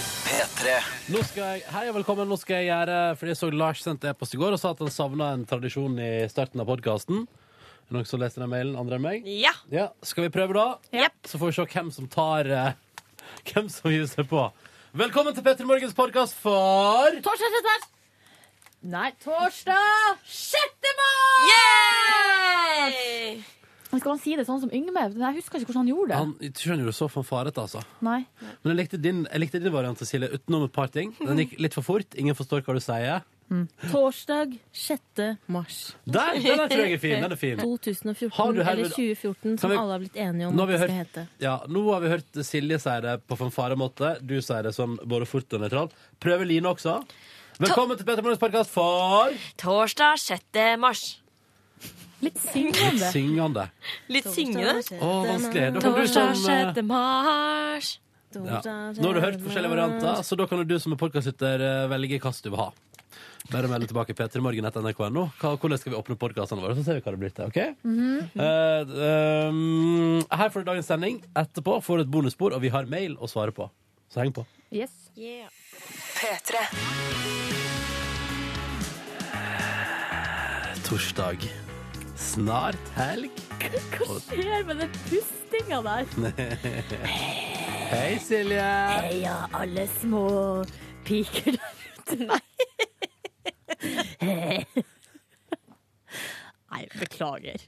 P3. Nå skal jeg, hei og velkommen, nå skal jeg gjøre Fordi jeg så Lars sendte e-post i går og sa at han savna en tradisjon i starten av podkasten. Noen som leste den mailen andre enn meg? Ja. Ja, Skal vi prøve, da? Jepp. Så får vi se hvem som tar eh, Hvem som hiver seg på. Velkommen til Petter Morgens podkast for Torsdag 6. mars. Nei, torsdag 6. mai! Yay! Men Skal man si det sånn som Yngve? Men Jeg husker ikke hvordan han gjorde det. Han jeg skjønner jo så fanfarete, altså. Nei. Men jeg likte din, jeg likte din variant, Cecilie, utenom et par ting. Den gikk litt for fort. Ingen forstår hva du sier. Torsdag 6. mars Der! Den der tror jeg er fin. Den er fin. 2014, Har du eller herved- 2014, som Kan vi- alle har blitt enige om Nå har vi hva det skal hørt- hete. Ja, nå har vi hørt Silje si det på fanfaremåte. Du sier det sånn både fort og nøytralt. Prøver Line også. Velkommen til Petter Morgens podkast for Torsdag 6. mars. Litt syngende. syngende. Litt syngende. Å, vanskelig. Da kan du Torsdag som eh, 6. mars. ja. Nå har du hørt forskjellige varianter, så da kan jo du som er podkastlytter eh, velge hva du vil ha. Bare melde tilbake p3morgen.nrk.no. Hva- Hvordan skal vi åpne podkastene våre, så ser vi hva det blir til. ok? Mhm. Eh, um, her får du dagens sending. Etterpå får du et bonusspor, og vi har mail å svare på. Så heng på. Yes. Torsdag. Snart helg. Hva skjer med den pustinga der? Hei, Silje. Heia alle små piker der ute. Nei. Nei, beklager.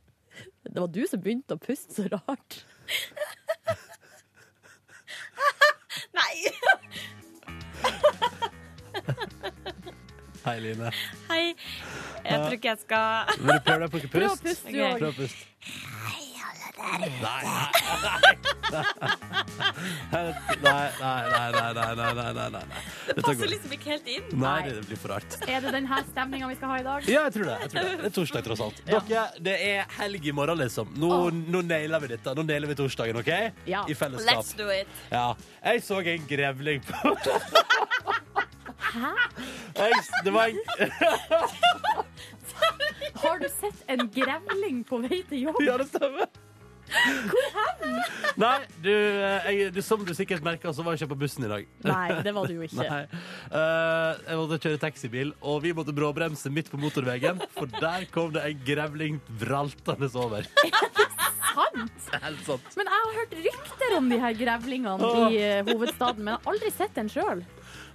Det var du som begynte å puste så rart. Nei. Hei, Line. Hei. Jeg tror ikke jeg skal Vil du prøve deg å plukke Prøv å pust? puste, du Ok. òg. Prøv å puste. Nei, nei, nei, nei, nei, nei, nei, nei, nei, nei. Dette går Passer ikke. liksom ikke helt inn. Nei, det blir for rart. Er det denne stemninga vi skal ha i dag? Ja, jeg tror det. Jeg tror det. det er torsdag, tross alt. Dere, det er helg i morgen, liksom. Nå, nå nailer vi dette. Nå nailer vi torsdagen, OK? Ja. I fellesskap. Let's do it. Ja. Jeg så en grevling på Jeg, det var en Har du sett en grevling på vei til jobb? Ja, det stemmer. Hvor hen? Nei, du, eh, jeg, du, som du sikkert merka, så var jeg ikke på bussen i dag. Nei, det var det jo ikke. Nei. Eh, jeg måtte kjøre taxibil, og vi måtte bråbremse midt på motorveien, for der kom det en grevling vraltende over. Sant! Helt sant. Men jeg har hørt rykter om de her grevlingene i eh, hovedstaden, men jeg har aldri sett en sjøl.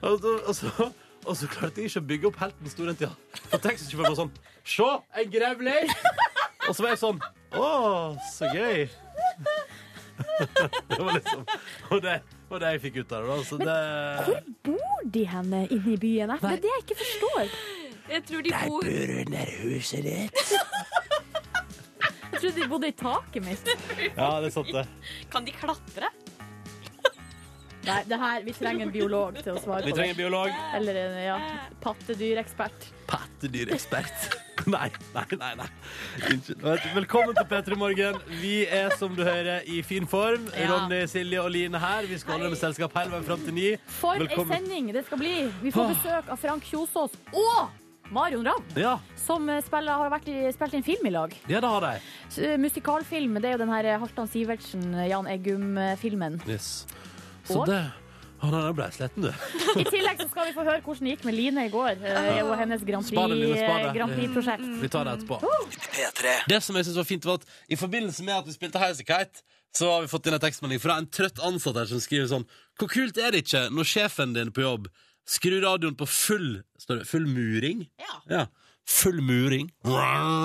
Og så, og, så, og så klarte jeg ikke å bygge opp helt den store tida. For taxisjåføren var sånn Se, en grevling! Og så var jeg sånn Å, så gøy. Det var liksom Og det var det jeg fikk ut av det. da, Så det Hvor bor de henne inne i byen? Det er det jeg ikke forstår. Jeg tror de bor under huset ditt. Jeg trodde de bodde i taket mitt. Ja, det er sant, det. Kan de klatre? Nei, det her, vi trenger en biolog til å svare Vi på det. trenger en biolog. Eller en ja, pattedyrekspert. Pattedyrekspert. Nei, nei, nei. nei. Unnskyld. Vet du, Velkommen til P3 Morgen. Vi er, som du hører, i fin form. Ja. Ronny, Silje og Line her. Vi skal holde dem med selskap hele veien fram til ni. For ei Velkommen. sending det skal bli! Vi får besøk av Frank Kjosås og Marion Ramm, Ja, som eh, spiller, har vært i, spilt inn film i lag. ja, det har de. S- eh, Musikalfilm. Det er jo den her eh, Halvdan Sivertsen, eh, Jan Eggum-filmen. Yes. Så Og? det Å, nei, nå ble jeg sliten, du. I tillegg så skal vi få høre hvordan det gikk med Line i går, eh, og hennes Grand Spar det, Line, spar det. Prix- eh, Grand Prix-prosjekt. Mm. Vi tar det etterpå. P3. Det som jeg synes var fint var at I forbindelse med at vi spilte Highasakite, så har vi fått inn en tekstmelding fra en trøtt ansatt her som skriver sånn Hvor kult er det ikke når sjefen din på jobb skrur radioen på full Står det full muring? Ja. Full muring.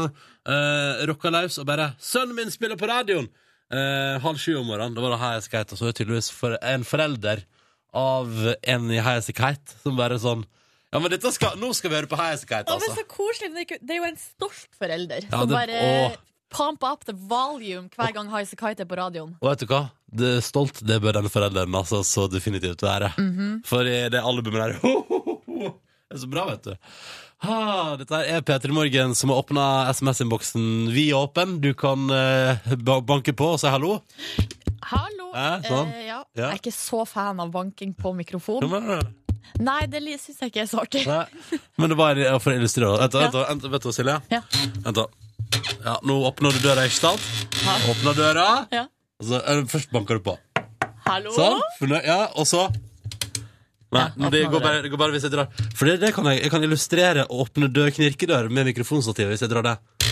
Uh, Rocka løs og bare 'Sønnen min spiller på radioen!' Eh, halv sju om morgenen. Da var det Highasakite, og så er det tydeligvis for en forelder av en i Highasakite som bare sånn ja, men dette skal, Nå skal vi høre på Highasakite, Å, men altså. så koselig. men Det er ikke- det er jo en stolt forelder Ja, som det- bare åh. pamper opp the volume hver gang Highasakite er på radioen. Og vet du hva? Det er stolt, det bør den forelderen altså, så definitivt være. For i det albumet der ho, ho, ho, ho, Det er så bra, vet du. Ah, dette her er P3 Morgen som har åpna SMS-innboksen. Vi er åpen, du kan eh, ba banke på og si hallo. Hallo! Ja, sånn. Eh, ja. Ja. Jeg er ikke så fan av banking på Mm. Jo, mikrofon. men- Nei, det li- syns jeg ikke er så artig. Nei. Men det var for å illustrere. Vent, da, vent, da, vent, vent, da, Silje. Ja. Vent, da. Ja, nå åpner du døra, ikke sant? Ja. Åpner døra, Ja. og så, eller, først banker du på. Hallo! Sånn. Fornøy, ja, og så Nei, Ja, det, åpne går døra. bare, det går bare hvis jeg drar For det, det kan jeg, jeg kan illustrere å åpne død knirkedør med mikrofonstativ hvis jeg drar det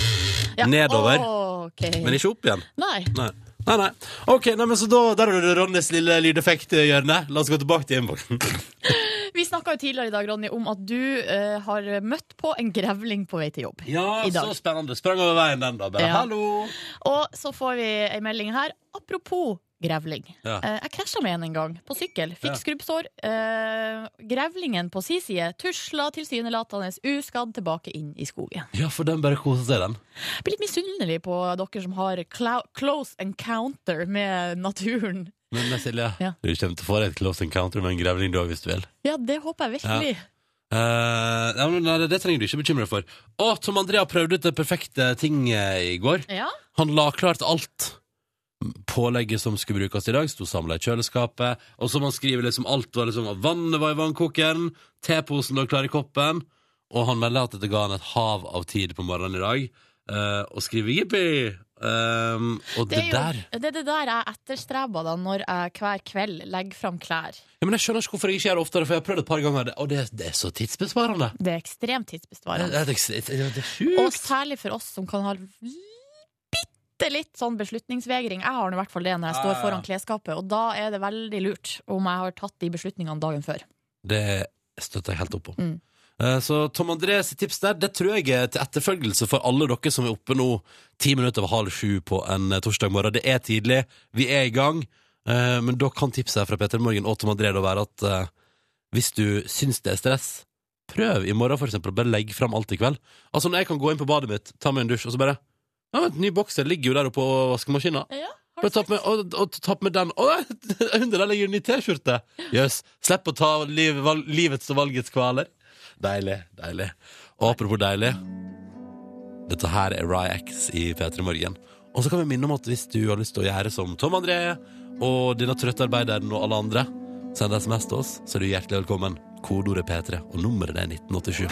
Ja. nedover, Ok. men ikke opp igjen. Nei. Nei. Nei, nei. Ok, nei, men så da, Der har du Ronnys lille lydeffekthjørne. La oss gå tilbake til innboksen. Vi snakka jo tidligere i dag, Ronny, om at du eh, har møtt på en grevling på vei til jobb. Ja, I dag. så spennende. Sprang over veien den, da. Bare Ja. hallo. Og så får vi ei melding her. Apropos grevling. Ja. Eh, jeg krasja med en en gang, på sykkel. Ja. Fikk skrubbsår. Eh, grevlingen på si side tusla tilsynelatende uskadd tilbake inn i skogen. Ja, for den bare koser seg, den. Jeg blir litt misunnelig på dere som har clou- close encounter med naturen. Men men Silje, Ja. du kommer til å få deg et close encounter med en grevling du òg, hvis du vil. Ja, det håper jeg virkelig. Eh, ja, men nei, det, det trenger du ikke bekymre deg for. Å, Tom Andrea prøvde ut det perfekte ting eh, i går. Ja. Han la klart alt. Pålegget som skulle brukes i dag, sto samla i kjøleskapet. Og som han skriver, liksom alt var liksom Vannet var i vannkokeren, teposen lå klar i koppen. Og han melder at dette ga han et hav av tid på morgenen i dag. eh, og skriver jippi! Ehm, og det, Det er, der jo, det er det der jeg etterstreber da, når jeg hver kveld legger fram klær. ja, men Jeg skjønner ikke hvorfor jeg ikke gjør det oftere, for jeg har prøvd et par ganger, og det, det er så tidsbesparende. Det er ekstremt Det, tidsbesvarende. det, det, det, det er Og sjukt! særlig for oss som kan ha bitte litt sånn beslutningsvegring. Jeg har nå i hvert fall det når Ja, jeg ja, står ja. foran klesskapet, og da er det veldig lurt om jeg har tatt de beslutningene dagen før. Det støtter jeg helt opp om. Mm. Eh, Så Tom Andrés tips der, det tror jeg er til etterfølgelse for alle dere som er oppe nå ti minutter over halv sju på en eh, torsdag morgen. Det er tidlig, vi er i gang, eh, men da kan tipset her fra Peter Morgen og Tom André da være at eh, hvis du syns det er stress, prøv i morgen for eksempel, bare legg fram alt i kveld. Altså når jeg kan gå inn på badet mitt, ta meg en dusj, og så bare ja, vent, ny bokser ligger jo der oppe på vaskemaskina. Bare ta på med, og, og ta på med den Å, nei, under der ligger en ny T-skjorte Jøss, slipp å ta liv, val, livets og valgets kvaler Deilig, deilig Og apropos deilig Dette her er Rye X i P3 Morgen Og så kan vi minne om at hvis du har lyst til å gjøre som Tom André Og denne trøttarbeideren og alle andre Send sms til oss, så er du hjertelig velkommen Kodordet P3, og nummeret det er 1987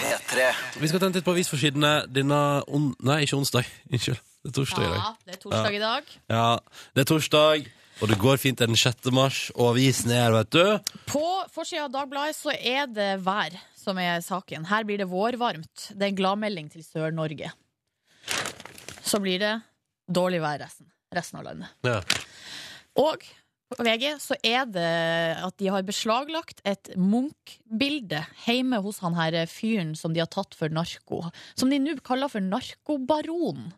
Vi skal ta en titt på avisforsidene Denne, on, nei ikke onsdag, unnskyld Det er torsdag i dag Ja, det er torsdag i dag. ja, det er torsdag, og det går fint det er den 6. mars, og avisen er her, vet du. På forsida av Dagbladet så er det vær som er saken. Her blir det vårvarmt. Det er en gladmelding til Sør-Norge. Så blir det dårlig vær resten, resten av landet. Ja. Og på VG så er det at de har beslaglagt et Munch-bilde hjemme hos han her fyren som de har tatt for narko. Som de nå kaller for narkobaron.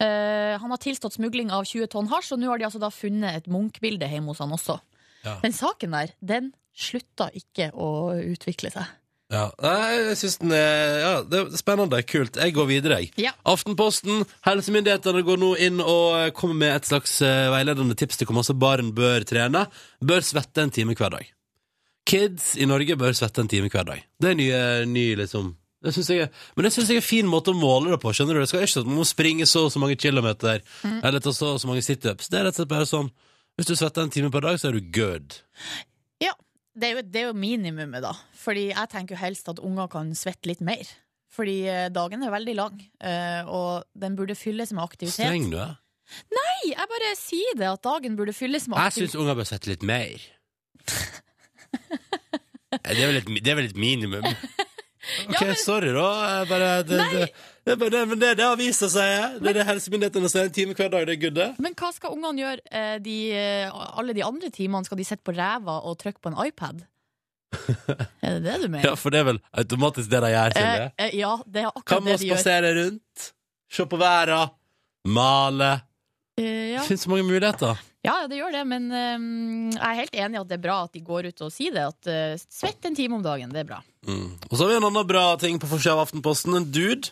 Eh, han har tilstått smugling av 20 tonn hasj, og nå har de altså da funnet et Munch-bilde hjemme hos han også. Ja. Den saken der, den slutta ikke å utvikle seg. Ja. Nei, jeg synes den er, ja, det er spennende, kult. Jeg går videre, jeg. Ja. Aftenposten, helsemyndighetene går nå inn og kommer med et slags eh, veiledende tips til hvor masse barn bør trene. Bør svette en time hver dag. Kids i Norge bør svette en time hver dag. Det er nye, ny liksom det synes jeg, er- men det syns jeg er en fin måte å måle det på. skjønner du? Det skal ikke sånn at Man må springe så og så mange kilometer eller ta så og så mange situps. Det er rett og slett bare sånn Hvis du svetter en time per dag, så er du good. Det er jo, det er jo minimumet, da. Fordi jeg tenker jo helst at unger kan svette litt mer. Fordi eh, dagen er veldig lang, eh, og den burde fylles med aktivitet. Streng du er. Nei, jeg bare sier det at dagen burde fylles med Jeg aktivitet. syns unger bør svette litt mer. Ja, Det er vel et, det er vel et minimum. Ok, sorry, da. Jeg Bare, det, det, det, er bare det, men det, det er avisa, sier jeg. Det er det helsemyndighetene sier. En time hver dag, det er good, det. Men hva skal ungene gjøre eh, de, eh, alle de andre timene? Skal de sitte på ræva og trykke på en iPad? er det det du Ja, mener? for det er vel automatisk det de gjør, eh, Silje. eh, ja det er Kan akkurat man det de gjør. spasere rundt? Se på verda? Male? Eh, ja. Det finnes så mange muligheter. ja, det gjør det, men eh, jeg er helt enig i at det er bra at de går ut og sier det. At eh, svett en time om dagen, det er bra. Mm. Og så har vi en annen bra ting på forsida av Aftenposten. En dude.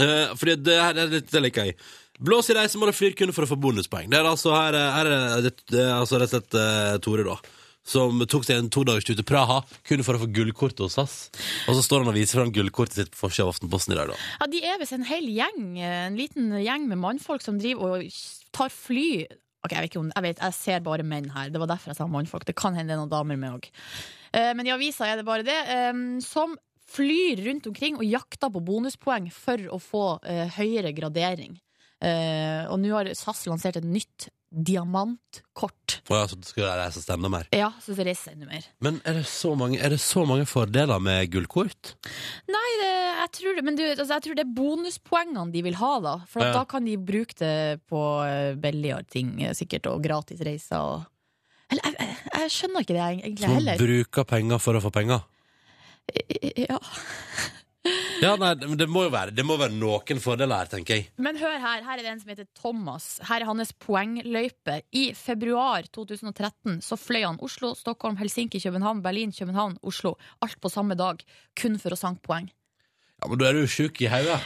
Eh, fordi det her er litt det liker jeg. Blås i reisemålet flyr kun for å få bonuspoeng. Det er altså her, eh, her er det, det er altså rett og slett eh, Tore, da. Som tok seg en todagerstur til Praha kun for å få gullkort hos SAS. Og så står han og viser fram gullkortet sitt på forsida av Aftenposten i dag, da. Ja, De er visst en hel gjeng, eh, en liten gjeng med mannfolk som driver og tar fly. Ok, Jeg vet ikke om, jeg, vet, jeg ser bare menn her, det var derfor jeg sa mannfolk. Det kan hende det er noen damer med òg. Men i avisa er det bare det. eh, Som flyr rundt omkring og jakter på bonuspoeng for å få eh, høyere gradering. Eh, Eh, og nå har SAS lansert et nytt diamantkort. Å ja, så det skal reise oss enda mer. Ja, så det reiser enda mer. Men er det så mange, er det så mange fordeler med gullkort? Nei, det, jeg, tror det, men du, altså, jeg tror det er bonuspoengene de vil ha, da. For at Ja. da kan de bruke det på eh, billigere ting, eh, sikkert, og gratis reiser og Eller jeg, jeg, jeg skjønner ikke det egentlig Som heller. bruker penger for å få penger? Ja. Ja, nei, men det må jo være, det må være noen fordeler her, tenker jeg. Men hør her, her er det en som heter Thomas. Her er hans poengløype. I februar 2013 så fløy han Oslo, Stockholm, Helsinki, København, Berlin, København, Oslo. Alt på samme dag. Kun for å sanke poeng. Ja, Men da er du jo sjuk i hodet.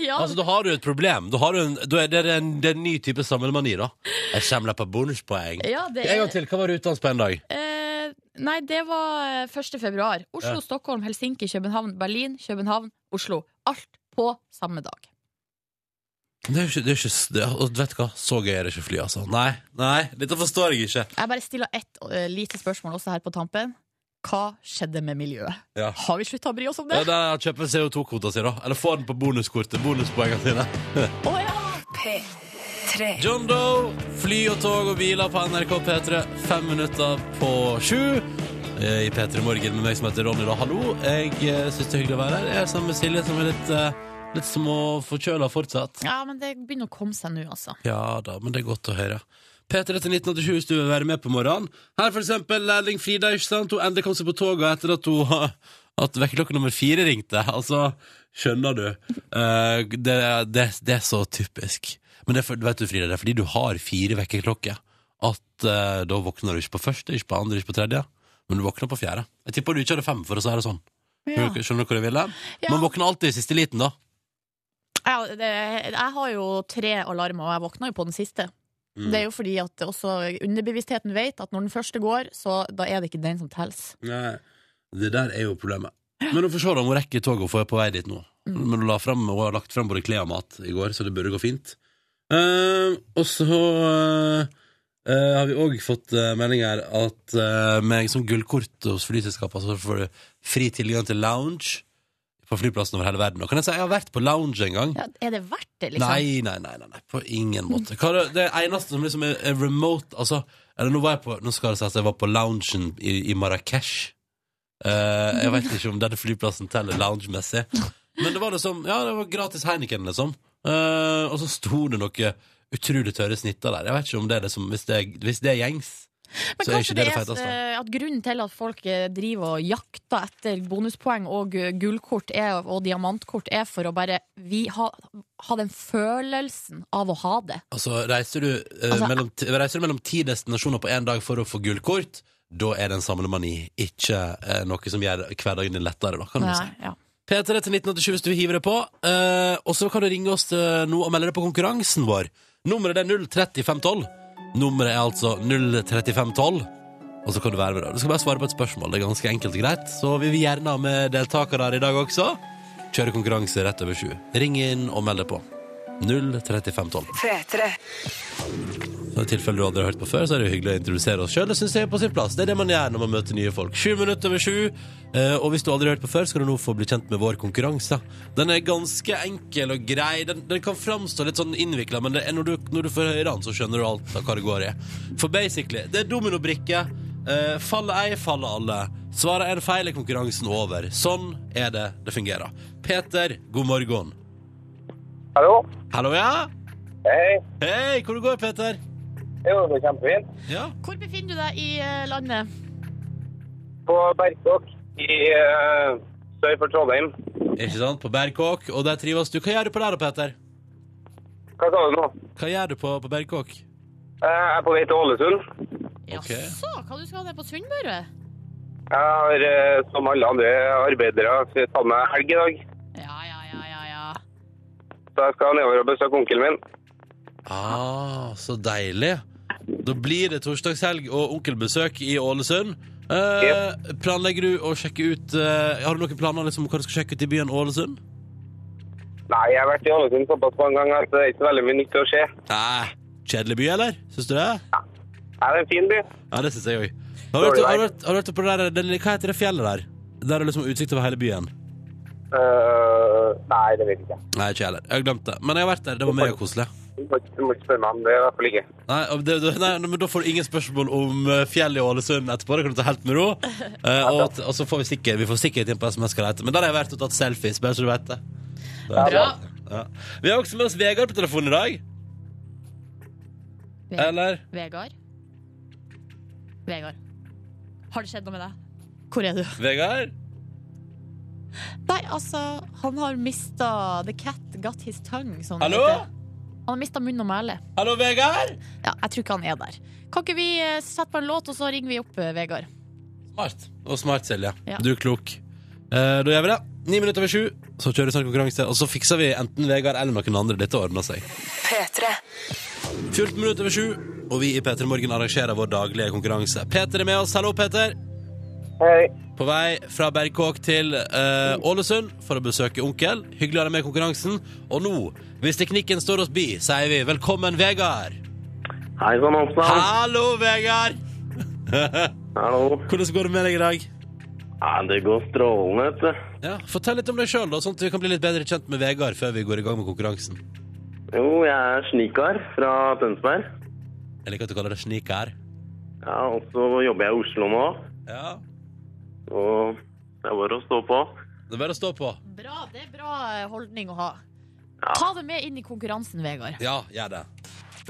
Ja, Altså, da har du et problem. Da, har du en, da er det en, det er en ny type samlemani, da. Jeg samler på bonuspoeng. ja det En gang til, hva var utdannelse på en dag? Eh, nei, det var eh, 1. februar. Oslo, Ja. Stockholm, Helsinki, København, Berlin, København, Oslo. Alt på samme dag. Det er jo ikke, det er ikke det, og Vet du hva, så gøy er det ikke å fly, altså. Nei, nei, dette forstår jeg ikke. Jeg bare stiller ett eh, lite spørsmål også her på tampen. Hva skjedde med miljøet? Ja. Har vi slutta å bry oss om Ja, det? det er å kjøpe CO2-kvota si, da. Eller få den på bonuskortet. Bonuspoengene sine. Å ja! John Doe, fly og tog og biler på NRK P3. Fem minutter på sju. Eh, I P3 Morgen med meg som heter Ronny, da. Hallo. Jeg eh, syns det er hyggelig å være her. Jeg er sammen med Silje, som er litt, eh, litt småforkjøla fortsatt. Ja, men det begynner å komme seg nå, altså. Ja da, men det er godt å høre. P3 til 1987 hvis du vil være med på morgenen. Her for eksempel lærling Frida, ikke sant? Hun endelig kom seg på toget etter at hun at vekkerklokka nummer fire ringte. Altså, skjønner du. Eh, det, det, det er så typisk. Men det er, for- vet du, Frida, det er fordi du har fire vekkerklokker at eh, da våkner du ikke på første, ikke på andre, ikke på tredje, men du våkner på fjerde. Jeg tipper du ikke hadde fem, for å si det sånn. Skjønner du hvor jeg vil hen? Ja. Man våkner alltid i siste liten, da. Ja, det, jeg har jo tre alarmer, og jeg våkna jo på den siste. Mm. Det er jo fordi at også underbevisstheten vet at når den første går, så da er det ikke den som telles. Nei, det der er jo problemet. Men hun får se da om hun rekker toget og får på vei dit nå. Men hun, la frem, hun har lagt frem både klær og mat i går, så det burde gå fint. Eh, og så eh, eh, har vi òg fått eh, melding her at eh, med som gullkort hos flyselskapene så får du fri tilgang til lounge på flyplassen over hele verden. Og kan jeg si jeg har vært på lounge en gang? Ja, er det verdt det, liksom? Nei, nei, nei, nei, nei, på ingen måte. Hva er det, det eneste som liksom er, er remote altså, eller nå, var jeg på, nå skal det si at jeg var på loungen i, i Marrakech. Eh, jeg vet ikke om denne flyplassen teller loungemessig. Men det var liksom, ja, det var gratis Heineken, liksom. Eh, og så sto det noe utrolig tørre snitter der. Jeg vet ikke om det er liksom, hvis det er, hvis det er gjengs. Men så er kanskje ikke det det det er feiteste. eh, at grunnen til at folk eh, driver og jakter etter bonuspoeng og eh, gullkort er, og diamantkort, er for å bare vi ha, ha den følelsen av å ha det. Altså, reiser du, eh, Altså, mellom, ti- reiser du mellom ti destinasjoner på én dag for å få gullkort, da er det en samlemani, ikke eh, noe som gjør hverdagen din lettere, da, kan du si. Nei, ja. P3 til 1987 hvis du hiver det på. Eh, og så kan du ringe oss til nå og melde deg på konkurransen vår. Nummeret det er 03512. Nummeret er altså 03512. Og så kan du være med. da. Du skal bare svare på et spørsmål. Det er ganske enkelt og greit. Så vi vil gjerne ha med deltakere her i dag også. Kjøre konkurranse rett over sju. Ring inn og meld deg på. 03512. Så I tilfelle du aldri har hørt på før, så er det jo hyggelig å introdusere oss sjøl. Det synes jeg er på sin plass. Det er det man gjør når man møter nye folk. Sju minutter over sju. Eh, Og hvis du aldri har hørt på før, skal du nå få bli kjent med vår konkurranse. Den er ganske enkel og grei. Den, den kan framstå litt sånn innvikla, men det er når, du, når du får høre den, så skjønner du alt av hva det går i. For basically, det er dominobrikke. Eh, Faller ei, faller alle. Svarer en feil, er konkurransen over. Sånn er det det fungerer. Peter, god morgen. Hallo? Hallo, ja? Hei. Hei, hvor det går Peter? Jo, det er kjempefint. Ja? Hvor befinner du deg i eh, landet? På Berkåk i eh, sør for Trondheim. Ikke sant? På Bergkåk, og der trives du. Hva gjør du på der da, Peter? Hva sa du nå? Hva gjør du på, på Bergkåk? Eh, Jeg er på vei til Ålesund. Ok. Jaså, hva du skal du ned på Sunnmøre? Jeg har, eh, som alle andre arbeidere, tatt meg helg i dag. Ja, ja, ja, ja, ja. Så jeg skal nedover og besøke onkelen min. Ah, så deilig. Da blir det torsdagshelg og onkelbesøk i Ålesund. Eh, Planlegger du å sjekke ut eh, Har du noen planer liksom, om hva du skal sjekke ut i byen Ålesund? Nei, jeg har vært i Ålesund såpass mange ganger at det er ikke så veldig mye nytt å se. Nei. Kjedelig by, eller? Syns du det? Er det er en fin by? Ja, det syns jeg òg. Har, du vært- har, du vært- har du vært på det der, det, Hva heter det fjellet der? Der er liksom utsikt over hele byen. Eh, Nei, det vet jeg ikke. Nei, ikke jeg heller. Jeg glemte det. Men jeg har vært der. Det var megakoselig. Du må ikke- du må ikke spørre meg om det, i hvert fall ikke. Nei, og det, det- nei, men da får du ingen spørsmål om eh, fjellet i Ålesund etterpå. Det kan du ta helt med ro. Eh, og, at- og så får vi sikkert, vi får sikkert inn på SMS hva det heter. Men der har jeg vært og tatt selfies, bare så du vet det. det er- Bra. Ja. Vi har også med oss Vegard på telefonen i dag. Ve- Eller? Vegard? Vegard. Har det skjedd noe med deg? Hvor er du? Vegard? Nei, altså, han har mista The cat got his tongue. Sånn Hallo? Han har mista munn og mæle. Hallo, Vegard? Ja, jeg tror ikke han er der. Kan ikke vi eh, sette på en låt, og så ringer vi opp eh, Vegard? Smart. Og smart, Silje. Ja. Du er klok. Eh, da gjør vi det. Ni minutter over sju, så kjører vi sånn konkurranse. Og så fikser vi enten Vegard eller noen andre. Dette ordner seg. 14 minutter over sju, og vi i P3 Morgen arrangerer vår daglige konkurranse. Peter er med oss. Hallo, Peter. Hei. På vei fra Berkåk til eh, Ålesund for å besøke onkel. Hyggelig å ha deg med i konkurransen. Og nå, hvis teknikken står oss bi, sier vi velkommen, Vegard. Hei sann, Hansen. Hallo, Vegard. Hallo. Hvordan går det med deg i dag? Ja, det går strålende, vet du. Ja, Fortell litt om deg sjøl, sånn at vi kan bli litt bedre kjent med Vegard før vi går i gang med konkurransen. Jo, jeg er snikar fra Tønsberg. Jeg liker at du kaller det snik her. Ja, og så jobber jeg i Oslo nå. Ja, Og det er bare å stå på. Det er bare å stå på. Bra, det er bra eh, holdning å ha. Ja. Ta det med inn i konkurransen, Vegard. Ja, gjør det.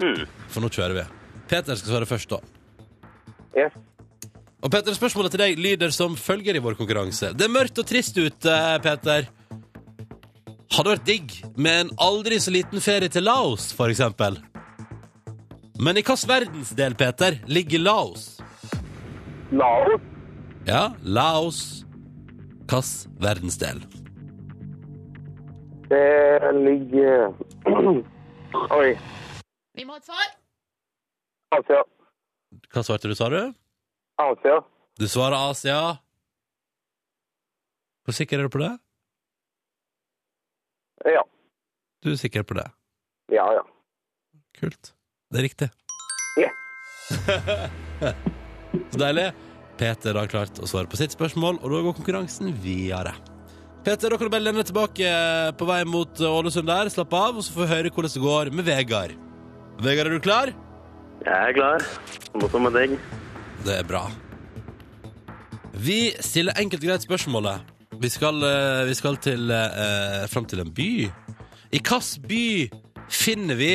Mm. For nå kjører vi. Peter skal svare først, da. Yes. Og Peter, spørsmålet til deg lyder som følger i vår konkurranse. Det er mørkt og trist ute, Peter. Hadde vært digg med en aldri så liten ferie til Laos, for eksempel. Men i hvilken verdensdel, Peter, ligger Laos? Laos. Ja, Laos. Hvilken verdensdel? Det ligger Oi. Vi må ha et svar. Asia. Hva svarte du, sa du? Asia. Du svarer Asia. Hvor sikker er du på det? Ja. Du er sikker på det. Ja, ja. Kult. Det er riktig. Ja. Så deilig. Peter har klart å svare på sitt spørsmål, og da går konkurransen videre. Peter, da kan du bare lene deg tilbake eh, på vei mot Ålesund der. Slapp av, og så får vi høre hvordan det går med Vegard. Vegard, er du klar? Jeg er klar. Må ta med deg. Det er bra. Vi stiller enkelt og greit spørsmålet. Vi skal, eh, vi skal til, eh, fram til en by. I hvilken by finner vi,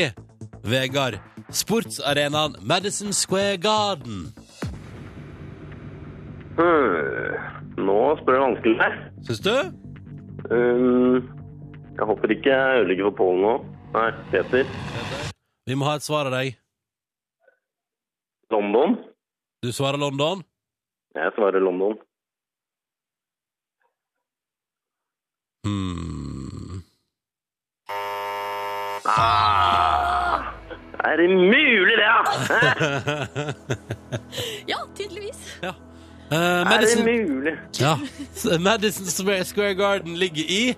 Vegard, sportsarenaen Madison Square Garden? Hmm. Nå spør jeg vanskelig her. Syns du? Um, jeg håper ikke jeg ødelegger for Pål nå. Nei, Peter. Vi må ha et svar av deg. London. Du svarer London. Jeg svarer London. Hmm. Er det mulig, det? ja? Ja, tydeligvis. Eh, Er det Madison, mulig? ja. S- Madison Square- Square Garden ligger i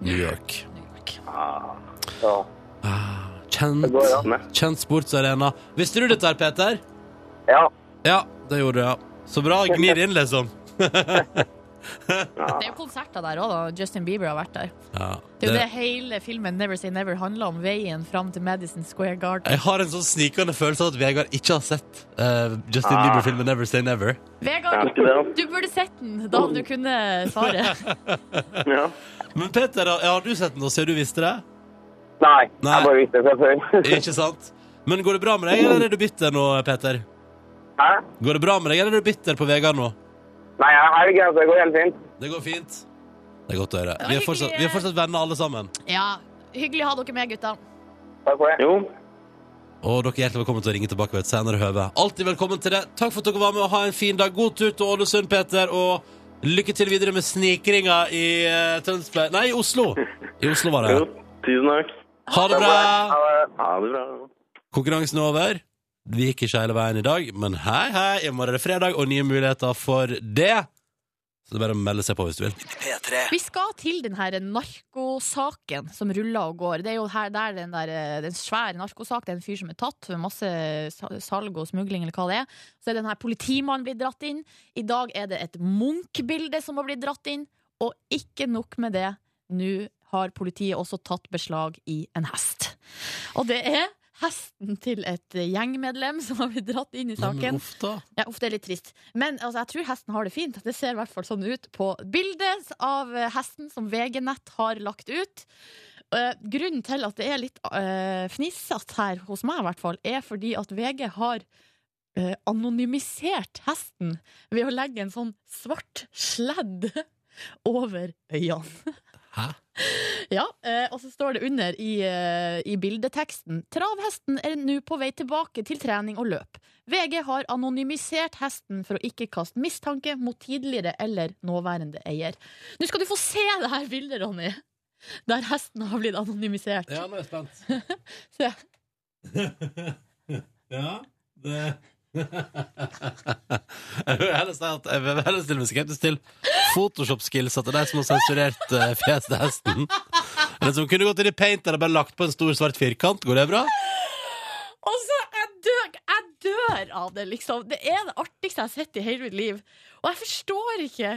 New York. Ja. Ah, Det går, Kjent. ja. Kjent sportsarena. Visste du dette her, Peter? Ja. Ja, det gjorde du, ja. Så bra. Gni det inn, liksom. Det er jo konserter der òg, da. Justin Bieber har vært der. Ja, Det er jo det- det hele filmen Never Say Never handler om. Veien fram til Madison Square Garden. Jeg har en sånn snikende følelse av at Vegard ikke har sett eh, Justin Ah. Bieber-filmen Never Say Never. Jeg Vegard, husker det, du burde sett den. Da hadde du kunnet svare. ja. ja. Men Peter, har har du sett den, og ser du visste det? Nei, Nei. jeg bare visste det fra før. Ikke sant? Men går det bra med deg, eller er du bitter nå, Peter? Hæ? Går det bra med deg, eller er du bitter på Vegard nå? Nei, jeg er ikke det. Det går helt fint. Det går fint. Det er godt å høre. Vi er fortsatt, vi er fortsatt venner, alle sammen. Ja. Hyggelig å ha dere med, gutta. Takk for det. Jo. Og dere er hjertelig velkommen til å ringe tilbake ved et senere høve. Alltid velkommen til det. Takk for at dere var med, og ha en fin dag. God tur til Ålesund, Peter, og lykke til videre med snikringa i eh, Tønsberg Nei, i Oslo. I Oslo var det. jo. Tusen takk. Ha det bra! Ha det. Ha det bra. Konkurransen er over. Vi gikk ikke hele veien i dag, men hei, hei, i morgen er det fredag, og nye muligheter for det. Så det er bare å melde seg på hvis du vil. Vi skal til den her narkosaken som ruller og går. Det er jo her der den der eh, den svære narkosak. Det er en fyr som er tatt for masse sa- salg og smugling, eller hva det er. Så er den her politimannen blitt dratt inn. I dag er det et Munch-bilde som har blitt dratt inn. Og ikke nok med det. nå har politiet også tatt beslag i en hest. Og det er hesten til et gjengmedlem som har blitt dratt inn i Nei, men saken. uff da. Ja, uff, det er litt trist. Men altså, jeg tror hesten har det fint. Det ser i hvert fall sånn ut på bildet av eh, hesten som VG-nett har lagt ut. Eh, grunnen til at det er litt uh, fnissete her, hos meg i hvert fall, er fordi at VG har eh, anonymisert hesten ved å legge en sånn svart sledd over øynene. Hæ? Ja, eh, og så står det under i, eh, i bildeteksten Travhesten er nå på vei tilbake til trening og løp. VG har anonymisert hesten for å ikke kaste mistanke mot tidligere eller nåværende eier. Nå skal du få se det her bildet, Ronny! Der hesten har blitt anonymisert. Ja, nå er jeg spent. Se. ja, det jeg vil heller si at Jeg vil heller stille meg skeptisk til Photoshop-skillsa til de som har sensurert eh, fjeset til hesten. Eller som kunne gått inn i painter og bare lagt på en stor svart firkant. Går det bra? Og så, jeg dør, jeg dør av det, liksom. Det er det artigste jeg har sett i hele mitt liv. Og jeg forstår ikke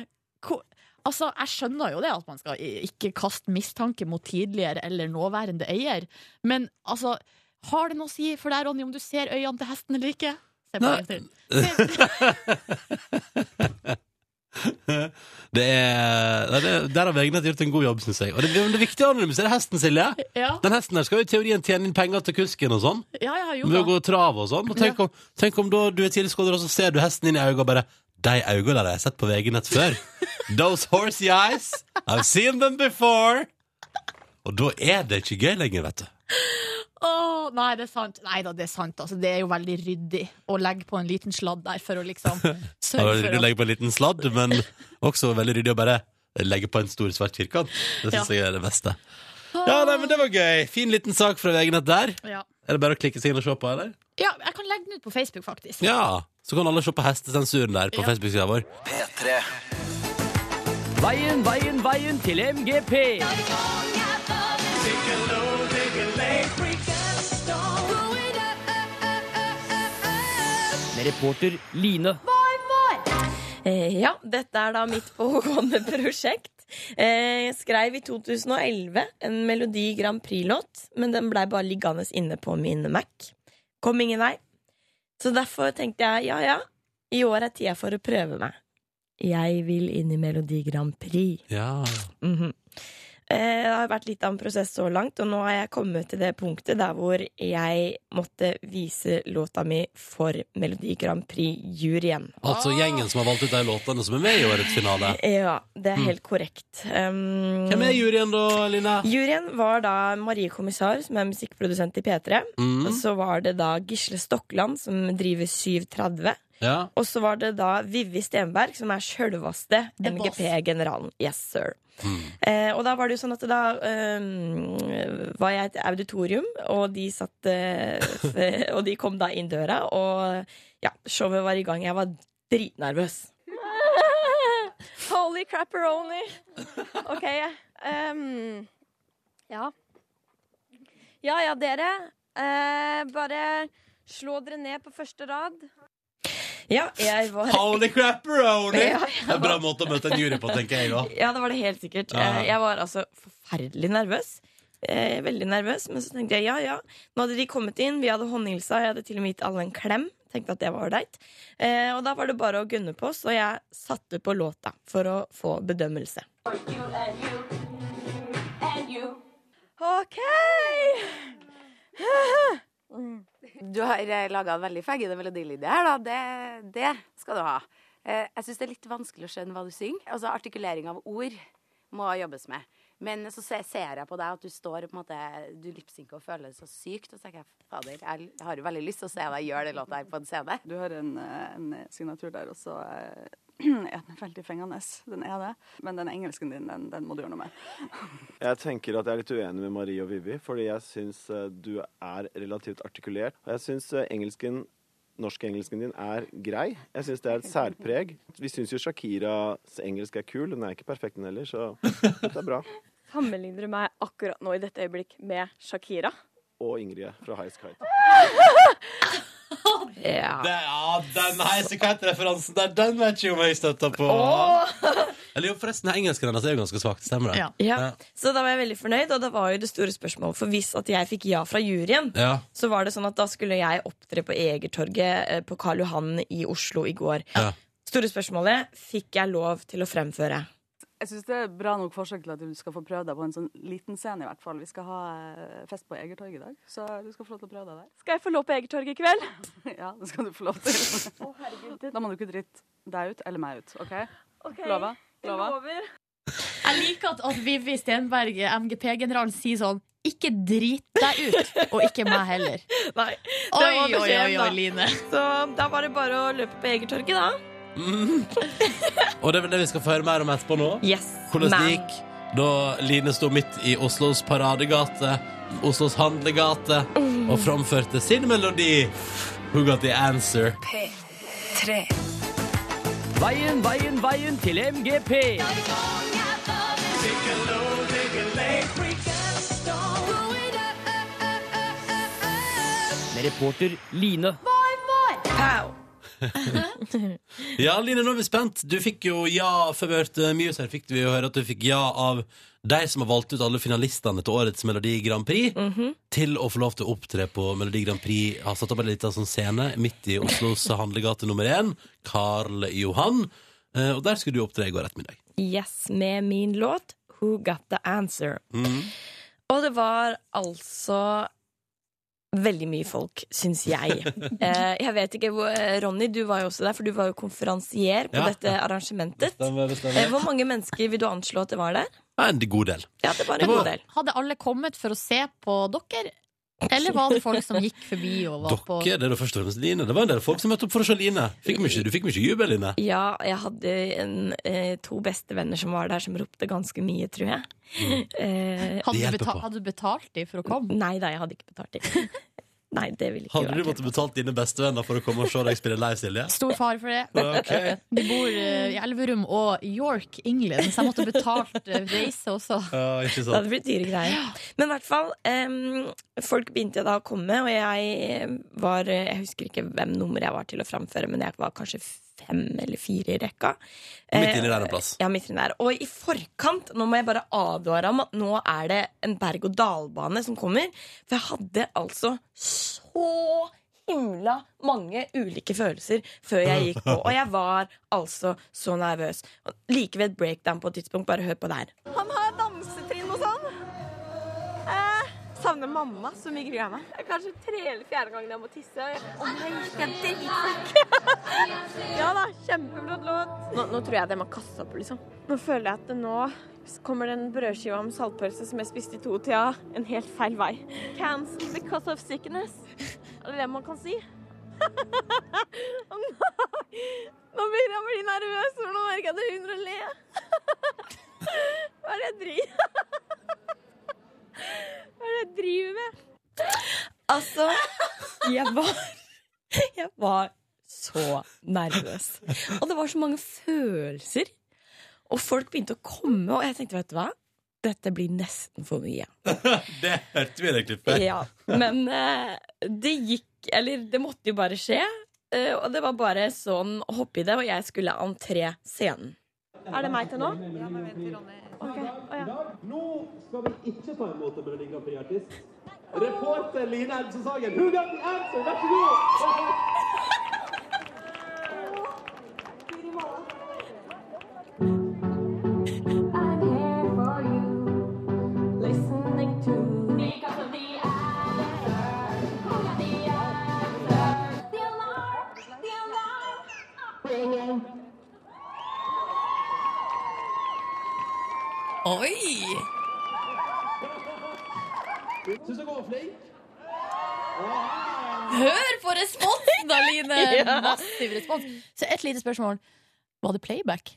hvor Altså, Jeg skjønner jo det at man skal i- ikke kaste mistanke mot tidligere eller nåværende eier, men altså Har det noe å si for deg, Ronny, om du ser øynene til hesten eller ikke? Se på Nei. en gang til. Se- Det er, nei, det, der har Vegnett gjort en god jobb, syns jeg. Og det, men det er viktig å anonymisere hesten, Silje. Ja, Den hesten her skal jo i teorien tjene inn penger til kusken og sånn. ja, ja, jo Ved å da. gå og trave og sånn. Og tenk, om, tenk om da du er tilskuer, og så ser du hesten inn i øynene og bare De øynene der har jeg sett på VG-nett før. Those horsey eyes. I've seen them before. Og da er det ikke gøy lenger, vet du. Åh, nei, det er sant. Nei da, det er sant. Altså, det er jo veldig ryddig å legge på en liten sladd der for å liksom Det var sørge for ryddig å legge på en liten sladd, men også veldig ryddig å bare legge på en stor svart firkant. Det syns jeg er det beste. Ja, nei, men det var gøy. Fin liten sak fra VG-nett der. Ja. Er det bare å klikke seg inn og se på, eller? Ja, jeg kan legge den ut på Facebook, faktisk. Ja. Så kan alle se på hestesensuren der på Ja. Facebook-sida vår. Veien, veien, veien til MGP. Med reporter Line. Eh, Ja, dette er da mitt pågående prosjekt. Eh, Jeg skrev i 2011 en Melodi Grand Prix-låt, men den blei bare liggende inne på min Mac. Kom ingen vei. Så derfor tenkte jeg ja ja, i år er tida for å prøve meg. Jeg vil inn i Melodi Grand Prix. Ja. Mhm. Eh, Det har vært litt av en prosess så langt, og nå har jeg kommet til det punktet der hvor jeg måtte vise låta mi for Melodi Grand Prix-juryen. Altså gjengen som har valgt ut de låtene som er med i årets finale. Ja, det er helt korrekt. Um, Hvem er juryen da, Line? Juryen var da Marie Kommissar, som er musikkprodusent i P3. Og Mm. så var det da Gisle Stokland, som driver 730. Ja. Og så var det da Vivi Stenberg, som er sjølveste The boss. MGP-generalen. Yes, sir. Eh, og da var det jo sånn at da eh, var jeg i et auditorium, og de satt eh, f- Og de kom da inn døra, og ja, showet var i gang. Jeg var dritnervøs. Holy crapperoni. OK. ehm, ja. Ja ja, dere. Eh, bare slå dere ned på første rad. Ja, jeg var Holy crapperoni! Ja, Det er en bra måte å møte en jury på, tenker jeg da. Ja, det var det helt sikkert. Ja. Eh, Jeg var altså forferdelig nervøs. Eh, veldig nervøs, men så tenkte jeg ja, ja. Nå hadde de kommet inn, vi hadde håndhilsa, jeg hadde til og med gitt alle en klem. Tenkte at det var ålreit. Eh, og da var det bare å gunne på, så jeg satte på låta for å få bedømmelse. OK! Du har laga en veldig feggete melodilinje her, da. Det, det skal du ha. Eh, Jeg syns det er litt vanskelig å skjønne hva du synger. Altså artikulering av ord må jobbes med. Men så se- ser jeg på deg at du står og på en måte Du lipsynker og føler det så sykt. Og så tenker jeg fader, jeg l- har jo veldig lyst til å se deg gjøre den låta her på en scene. Du har en, eh, en signatur der, og så eh, er den veldig fengende. Den er det. Men den engelsken din, den, den må du gjøre noe med. Jeg tenker at jeg er litt uenig med Marie og Vivi, fordi jeg syns eh, du er relativt artikulert. Og jeg syns eh, engelsken Norskengelsken din er grei. Jeg syns det er et særpreg. Vi syns jo Shakiras engelsk er kul. Hun er ikke perfekt, den heller, så dette er bra. Sammenligner du meg akkurat nå i dette øyeblikk med Shakira? Og Ingrid fra High Skite. Ja. Det, ja, den heisekite-referansen der, den vet ikke om jeg støtter på. Eller jo, forresten, engelsken hennes er jo ganske svakt, stemmer det? Ja. Så da var jeg veldig fornøyd, og det var jo det store spørsmålet. For hvis at jeg fikk ja fra juryen, Ja. så var det sånn at da skulle jeg opptre på Egertorget eh, på Karl Johan i Oslo i går. Ja. Store spørsmålet fikk jeg lov til å fremføre. Jeg syns det er bra nok forsøk til at du skal få prøve deg på en sånn liten scene, i hvert fall. Vi skal ha eh, fest på Egertorget i dag, så du skal få lov til å prøve deg der. Skal jeg få lov på Egertorget i kveld? Ja, det skal du få lov til. Da må du ikke drite deg ut eller meg ut, OK? Lova? Lova? Jeg liker at, at Vivi Stenberg, MGP-generalen, sier sånn Ikke drit deg ut, og ikke meg heller. Nei, oi, Det var oi, oi, beskjeden, oi, da. Line. Så da var det bare å løpe på Egertorget, da. Og det er vel det vi skal få høre mer om etterpå nå? Yes. Hvordan det Men- gikk da Line sto midt i Oslos paradegate, Oslos handlegate, Mm. og framførte sin melodi Who Got The Answer? P3. Veien, veien, veien til MGP. Med reporter Line. Pow! Ja, Line, nå er vi spent. Du fikk jo ja før vi hørte Muse her, fikk vi jo høre at du fikk ja av de som har valgt ut alle finalistene til årets Melodi Grand Prix, til å få lov til å opptre på Melodi Grand Prix. Har satt opp en liten sånn scene midt i Oslos handlegate nummer én, Karl Johan. Eh, Og der skulle du opptre i går ettermiddag. Yes, med min låt Who Got The Answer. Mhm. Og det var altså veldig mye folk, syns jeg. Eh, jeg vet ikke hvor eh, Ronny, du var jo også der, for du var jo konferansier på Ja. dette arrangementet. Stemmer, Eh, hvor mange mennesker vil du anslå at det var der? En god del. Ja, det var en god del. Hadde alle kommet for å se på dere? Eller var det folk som gikk forbi og var på Dere, det er da først og fremst Line. Det var en del folk som møtte opp for å se Line. Fikk mye, du fikk mye jubel, Line. Ja, jeg hadde en, eh, to bestevenner som var der, som ropte ganske mye, tror jeg. Mm. Eh, Hadde du, beta hadde du betalt dem for å komme? Nei da, jeg hadde ikke betalt dem. Nei, det ville ikke Hadde du måttet betalt dine bestevenner for å komme og se deg spille live, Silje? Stor fare for det. Ok. De bor eh, i Elverum og York, England, så jeg måtte betalt eh, reise også. Ja, ikke Det hadde blitt dyre greier. Men i hvert fall, em, folk begynte da å komme, og jeg var Jeg husker ikke hvem nummer jeg var til å framføre, men jeg var kanskje fem eller fire i rekka. Midt Eh, inni der en plass. Ja, midt inni der. Og i forkant, nå må jeg bare advare om at nå er det en berg-og-dal-bane som kommer. For jeg hadde altså så himla mange ulike følelser før jeg gikk på. Og jeg var altså så nervøs. Og Like ved et breakdown på et tidspunkt. Bare hør på det her. Han har dansetrinn og sånn. Eh, savner mamma så mye gruer jeg meg. Det er kanskje tre eller fjerde gangen jeg må tisse. og jeg- Å nei, jeg er dritflink. ja da, kjempeflott låt. Nå, nå tror jeg det må kaste opp, liksom. Nå føler jeg at det nå kommer den brødskiva med saltpølse som jeg spiste i to-tida, en helt feil vei. Cancel because of sickness. Er det det man kan si? Å nei! Nå begynner jeg å bli nervøs, for nå merker jeg at jeg begynner å le. Hva er det jeg driver Hva er det jeg driver med? Altså, jeg var Jeg var så nervøs. Og det var så mange følelser. Og folk begynte å komme, og jeg tenkte, vet du hva? Dette blir nesten for mye. Det hørte vi i det klippet. Ja, men eh, det gikk Eller det måtte jo bare skje. Eh, og det var bare sånn hopp i det, og jeg skulle entré scenen. Er det meg til nå? I dag, nå skal vi ikke ta imot en Melodi Grand Prix-artist. Reporter Line Elvsen Sagen, who got the answer? Vær så god! Oi! Syns dere hun var flink? Hør på responsen da, Line! Ja. Massiv respons. Så et lite spørsmål. Var det playback?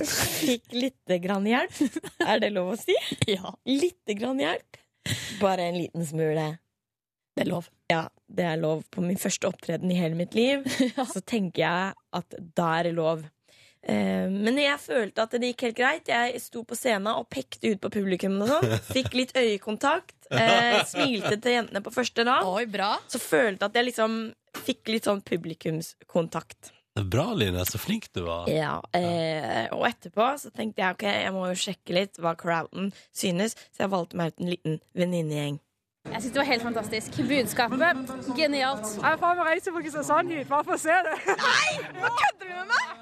Fikk lite grann hjelp. Er det lov å si? Ja. Lite grann hjelp. Bare en liten smule. Det er lov. Ja, det er lov. På min første opptreden i hele mitt liv så tenker jeg at da er det lov. Eh, Men jeg følte at det gikk helt greit. Jeg sto på scenen og pekte ut på publikum. og sånn. Fikk litt øyekontakt. eh, Smilte til jentene på første rad. Så følte jeg at jeg liksom fikk litt sånn publikumskontakt. Det er bra, Line. Så flink du var. Ja, eh, og etterpå så tenkte jeg ok, jeg må jo sjekke litt hva crowden synes, så jeg valgte meg ut en liten venninnegjeng. Jeg syns det var helt fantastisk. Budskapet genialt. Jeg vil faen meg reise fra Kristiansand hit bare for å se det. Nei! Nå kødder du med meg!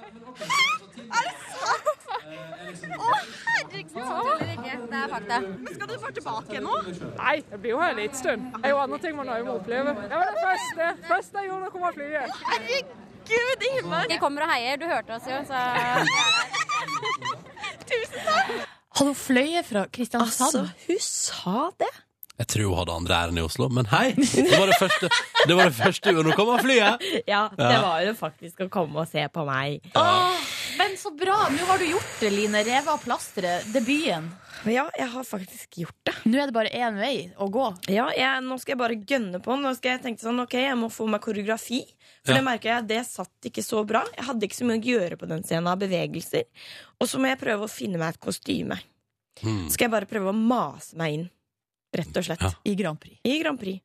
Er det sant? Å, herregud! Tuller ikke. Det er fakta. Men skal du bare tilbake nå? Nei, jeg blir jo her en liten stund. Det er jo andre ting man har jo må oppleve. Det var det første, første jeg gjorde da jeg kom av flyet. Herregud, Ingmar! De kommer og heier. Du hørte oss jo, så Tusen takk! Hadde hun fløyet fra Kristiansand? hun sa det! Jeg tror hun hadde andre ærend i Oslo, men hei! Det var det første, det var det første hun kom av flyet! Ja, det Ja. var jo faktisk å komme og se på meg. Ah, Men så bra! Nå har du gjort det, Line. Revet av plasteret. Debuten. Ja, jeg har faktisk gjort det. Nå er det bare én vei å gå. Ja, jeg, nå skal jeg bare gønne på. Nå skal jeg tenke sånn, ok, jeg må få meg koreografi. For Ja. det merket jeg, det satt ikke så bra. Jeg hadde ikke så mye å gjøre på den scenen av bevegelser. Og så må jeg prøve å finne meg et kostyme. Så skal jeg bare prøve å mase meg inn, rett og slett. I Grand Prix. I Grand Prix.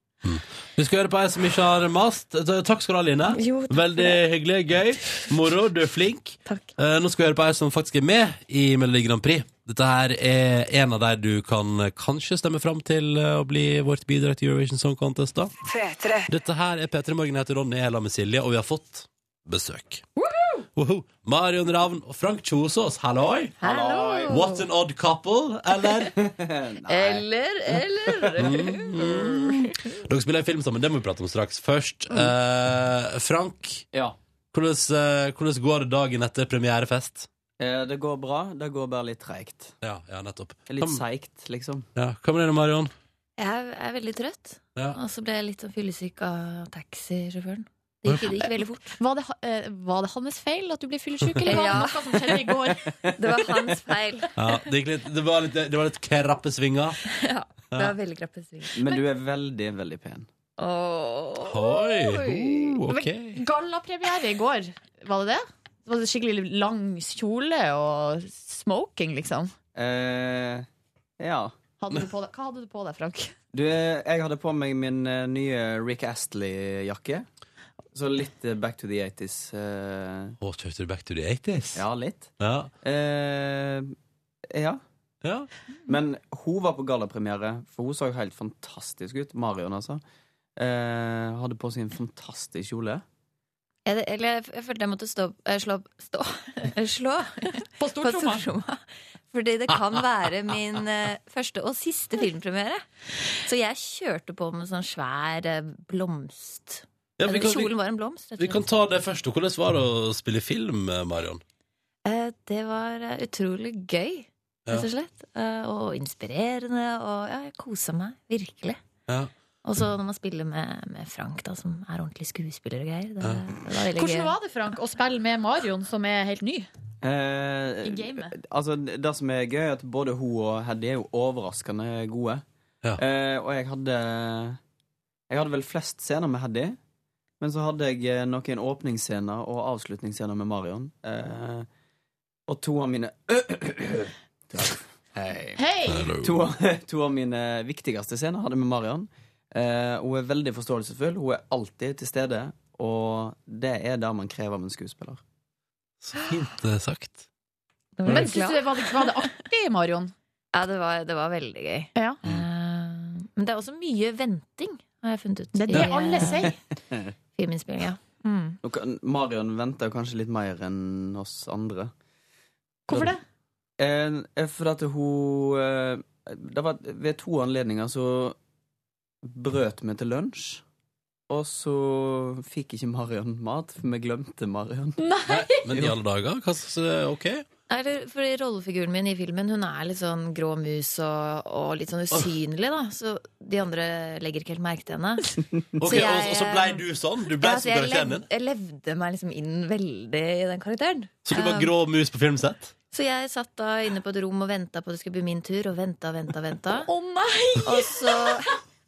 Vi skal høre på ei som ikke har mast. Eh, Takk skal du ha, Line. Veldig hyggelig, gøy, moro. Du er flink. Eh, nå skal vi høre på ei som faktisk er med i Melodi Grand Prix. Dette her er en av de du kan eh, kanskje stemme fram til eh, å bli vårt bidrag til Eurovision Song Contest, da. Dette her er P3 Morgen. Jeg heter Ronny, jeg er sammen med Silje, og vi har fått besøk. Woho! Marion Ravn og Frank Kjosås, halloi! Halloi! What an odd couple, eller? Eller, eller Mm. Dere spiller en film sammen, det må vi prate om straks. Først, eh, Frank. Hvordan, eh, hvordan går det dagen etter premierefest? Eh, Det går bra, det går bare litt treigt. Ja, nettopp. Litt seigt, liksom. Ja, Hva med deg, Marion? Jeg er, jeg er veldig trøtt. Ja. Og så ble jeg litt sånn fyllesyk av taxisjåføren. Det gikk, det gikk veldig fort. Var det, ha- eh, var det hans feil at du ble fyllesyk, eller var det Ja. noe som skjedde i går? Det var hans feil. Ja, det, gikk litt, det var litt, det var litt krappe svinger. Ja, det Ja. var veldig krappe sving. Men du er veldig, veldig pen. Åh. Oi! Oh, ok. Men Gallapremiere i går, var det det? Var det skikkelig lang kjole og smoking, liksom? Eh, ja. Hadde du på deg, hva hadde du på deg, Frank? Du, jeg hadde på meg min eh, nye Rick Astley-jakke. Så litt eh, back to the 80s. eh. Å, kjørte du back to the 80s? Ja, litt. Ja. Eh, ja. Men hun var på gallapremiere, for hun så jo helt fantastisk ut. Marion, altså. Eh, hadde på seg en fantastisk kjole. Jeg, eller jeg, jeg følte jeg måtte stå, eh, slå, stå Slå på stortromma. Fordi det kan være min eh, første og siste filmpremiere. Så jeg kjørte på med sånn svær eh, blomst. Ja, vi Eller, kan- vi- Kjolen var en blomst. rett og Vi kan slett. ta det først. og Hvordan var det å spille film, eh, Marion? Eh, Det var eh, utrolig gøy, Ja. rett og slett. Eh, Og inspirerende. Og ja, jeg kosa meg virkelig. Ja. Og så når man spiller med, med Frank, da, som er ordentlig skuespiller og greier. Det, det var veldig Hvordan gøy. var det, Frank, å spille med Marion, som er helt ny? Eh, I gamet. Altså, det som er gøy, er at både hun og Heddy er jo overraskende gode. Eh, og jeg hadde Jeg hadde vel flest scener med Heddy. Men så hadde jeg eh, noen åpningsscener og avslutningsscener med Marion. Eh, og to av mine Hei! Hei! To, av- to av mine viktigste scener hadde jeg med Marion. Eh, hun er veldig forståelsesfull. Hun er alltid til stede. Og det er det man krever av en skuespiller. Så fint eh, sagt. Men synes du, det var, det, var det artig, Marion? Ja, det var, det var veldig gøy. Mm. Eh, Men det er også mye venting, har jeg funnet ut. Det eh, er det alle sier. Filminnspillinga. Mm. Nå kan- Marion venter kanskje litt mer enn oss andre. Hvorfor det? Eh, for at hun eh, Det var ved to anledninger så brøt vi til lunsj. Og så fikk ikke Marion mat, for vi glemte Marion. Men i alle dager? Hva slags eh, OK? Eller, fordi rollefiguren min i filmen Hun er litt sånn grå mus og, og litt sånn usynlig, da. Så de andre legger ikke helt merke til henne. Ok, jeg, og, og så blei du sånn? Du blei Ja, så som jeg, karakteren din? lev, jeg levde meg liksom inn veldig i den karakteren. Så du var Um, grå mus på filmsett? Så jeg satt da inne på et rom og venta på at det skulle bli min tur, og venta, venta, venta. Å nei! Og så,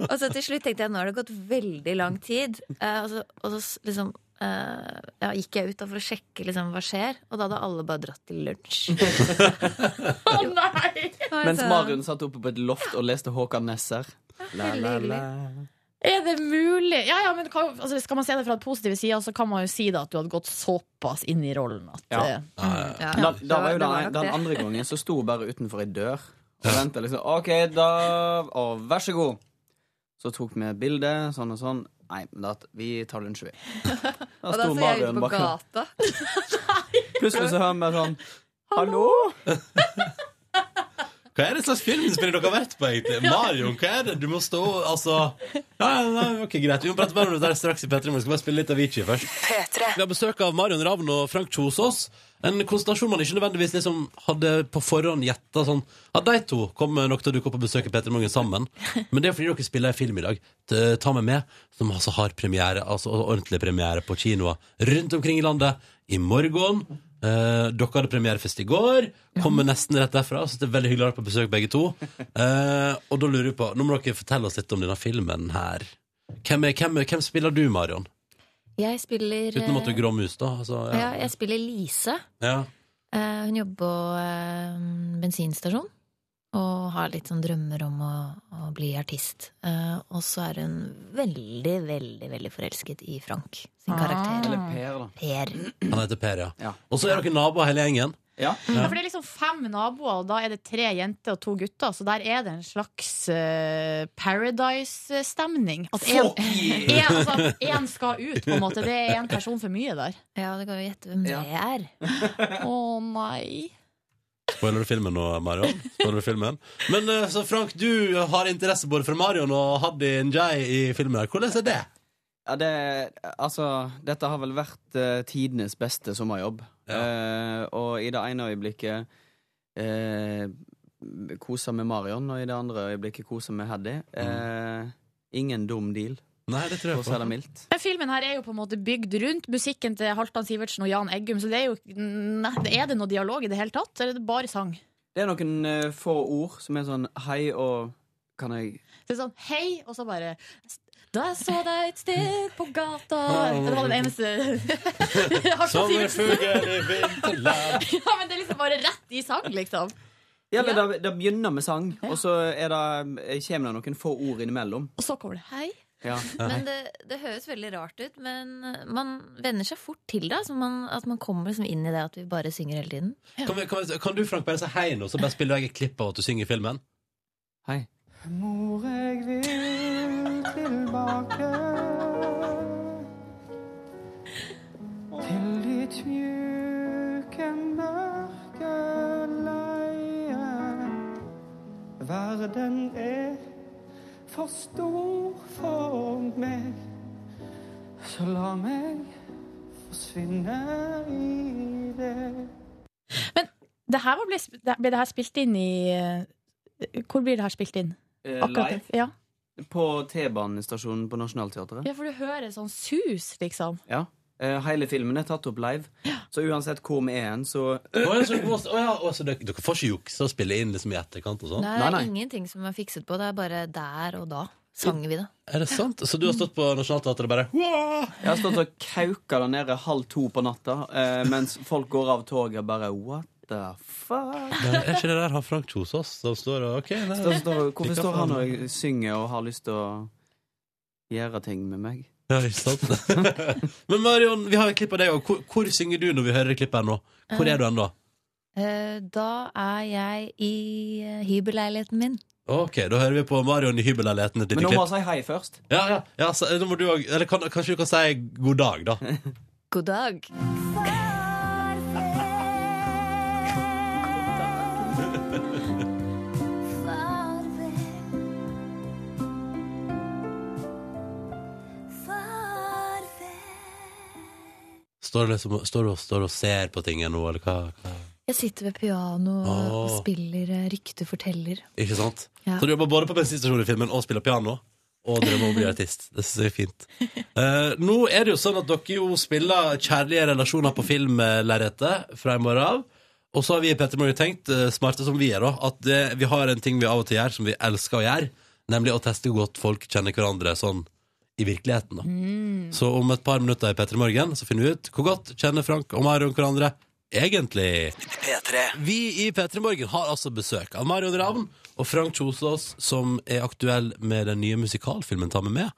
og så til slutt tenkte jeg nå har det gått veldig lang tid. Eh, og så, og så s- liksom eh, ja, gikk jeg ut da for å sjekke liksom, hva skjer, og da hadde alle bare dratt til lunsj. Å nei! Mens Marion satt oppe på et loft og leste Håkan Nesser. La, la, la. Er det mulig? Ja, ja, men hva, altså, skal man se det fra den positive sida, så kan man jo si da at du hadde gått såpass inn i rollen at eh, ja. Da, da var jo Det var nok den, den det. andre gangen så sto hun bare utenfor ei dør og venta liksom. OK, da Og vær så god. Så tok vi et bilde, sånn og sånn. Nei, men da, vi tar lunsj, vi. Da Og da sto så jeg Marion ute på bak meg. gata. Plutselig så hører vi bare sånn Hallo? Hva er det slags filmspillet dere har vært på, egentlig? Marion, hva er det? Du må stå Altså Ja, ja, nei, ok, greit. Vi må prate mer om det der straks i P3 Morgen. Skal bare spille litt Avicii først. Vi har besøk av Marion Ravn og Frank Kjosås. En konstellasjon man ikke nødvendigvis liksom hadde på forhånd gjetta sånn At de to kommer nok til å dukke opp og besøke P3 Morgen sammen. Men det er fordi dere spiller en film i dag, T- Ta meg med, som altså har premiere, altså ordentlig premiere på kinoer rundt omkring i landet i morgen. Eh, dere hadde premiere først i går. Kommer nesten rett derfra. Så det er veldig hyggelig å være på besøk, begge to. Eh, og da lurer vi på Nå må dere fortelle oss litt om denne filmen her. Hvem, er, hvem, er, hvem spiller du, Marion? Jeg spiller Utenom at du eh, er gråmus, da. Altså, ja, jeg spiller Lise. ja. Eh, Hun jobber på eh, bensinstasjon og har litt sånn drømmer om å, å bli artist. Eh, og så er hun veldig, veldig veldig forelsket i Frank, sin karakter. Eller Per, da. Per. Han heter Per, ja. Og så er dere naboer, hele gjengen. Ja, for det er liksom fem naboer, og da er det tre jenter og to gutter. Så der er det en slags eh, paradise-stemning. At en, en, altså, at en skal ut, på en måte. Det er en person for mye der. Ja, du kan jo gjette hvem det er. Å nei. Spoiler du filmen nå, Marion? Spoiler du filmen? Men eh, så Frank, du har interesse både for Marion og Haddy Njay i filmen. her Hvordan er det? Ja, det, altså, dette har vel vært eh, tidenes beste sommerjobb. Eh, og i det ene øyeblikket uh, kosa med Marion, og i det andre øyeblikket kosa med Haddy. Eh, ingen dum deal. Nei, det tror jeg For å si det mildt. Men filmen her er jo på en måte bygd rundt musikken til Halvdan Sivertsen og Jan Eggum, så det er jo nei, Er det noe dialog i det hele tatt, eller er det bare sang? Det er noen eh, få ord som er sånn hei og kan jeg Så det er sånn hei, og så bare Da jeg så deg et sted på gata Det var den eneste Harstad Sivertsen. Sommerfugler i vinterland. Ja, men det er liksom bare rett i sang, liksom. Ja, men det, det begynner med sang, og så er det, eh, kommer det noen få ord innimellom. Og så kommer det Hei. Ja. Men det, det høres veldig rart ut, men eh, man venner seg fort til det. Altså man, at man kommer liksom inn i det at vi bare synger hele tiden. Kan, vi, kan, vi, kan du, Frank, bare si hei nå, så bare spiller jeg et klipp av at du synger i filmen? Mor, jeg vil tilbake til ditt mjuke, mørke leie. Verden er for stor for meg, så la meg forsvinne i det. Det her var ble, sp- det- ble det her spilt inn i eh, Hvor blir det her spilt inn? Eh, live? Ja. På T-banestasjonen på Nationaltheatret. ja, for du hører sånn sus, liksom. Ja. Eh, Hele filmen er tatt opp live, så uansett hvor vi er hen, så Å, ja, så, å, ja, å, så dere, dere får ikke jukse og spille inn liksom, i etterkant og sånn? Nei, det er ingenting som er fikset på. Det er bare der og da sanger vi det. Er det sant? Så du har stått på Nationaltheatret og bare Jeg har stått og kauka der nede halv to på natta, eh, mens folk går av toget og bare What the f... Men er ikke det der han Frank Kjosås som står og ok, nei, Står- står- Hvorfor Fikk står han- han og synger og har lyst til å gjøre ting med meg? Ja, ikke sant? Men Marion, vi har et klipp av deg òg. Hvor, hvor synger du når vi hører det klippet her nå? Hvor er du ennå? Eh, Da er jeg i eh, hybelleiligheten min. Ok, da hører vi på Marion i hybelleiligheten. et lite Men nå må klipp. jeg si hei først. Ja, ja, ja så, eh, nå må du òg Eller kan, kanskje du kan si god dag, da? God dag. Står du liksom står du, og- står du og ser på ting nå, eller hva? hva? Jeg sitter ved pianoet og Åh. spiller eh, Rykte forteller. Ikke sant? Ja. Så du jobber både på bensinstasjon i filmen og spiller piano. Og drømmer om å bli artist. Det synes jeg er fint. Eh, nå er det jo sånn at dere jo spiller kjærlige relasjoner på filmlerretet fra i morgen av. Og så har vi i Petter Morgen tenkt, eh, smarte som vi er, da, at det, vi har en ting vi av og til gjør som vi elsker å gjøre, nemlig å teste hvor godt folk kjenner hverandre sånn i virkeligheten. da. Så om et par minutter i Petter Morgen så finner vi ut hvor godt kjenner Frank og Marion hverandre egentlig. Vi i P3 Morgen har altså besøk av Mario Ravn og Frank Kjosås, som er aktuell med den nye musikalfilmen Ta meg med.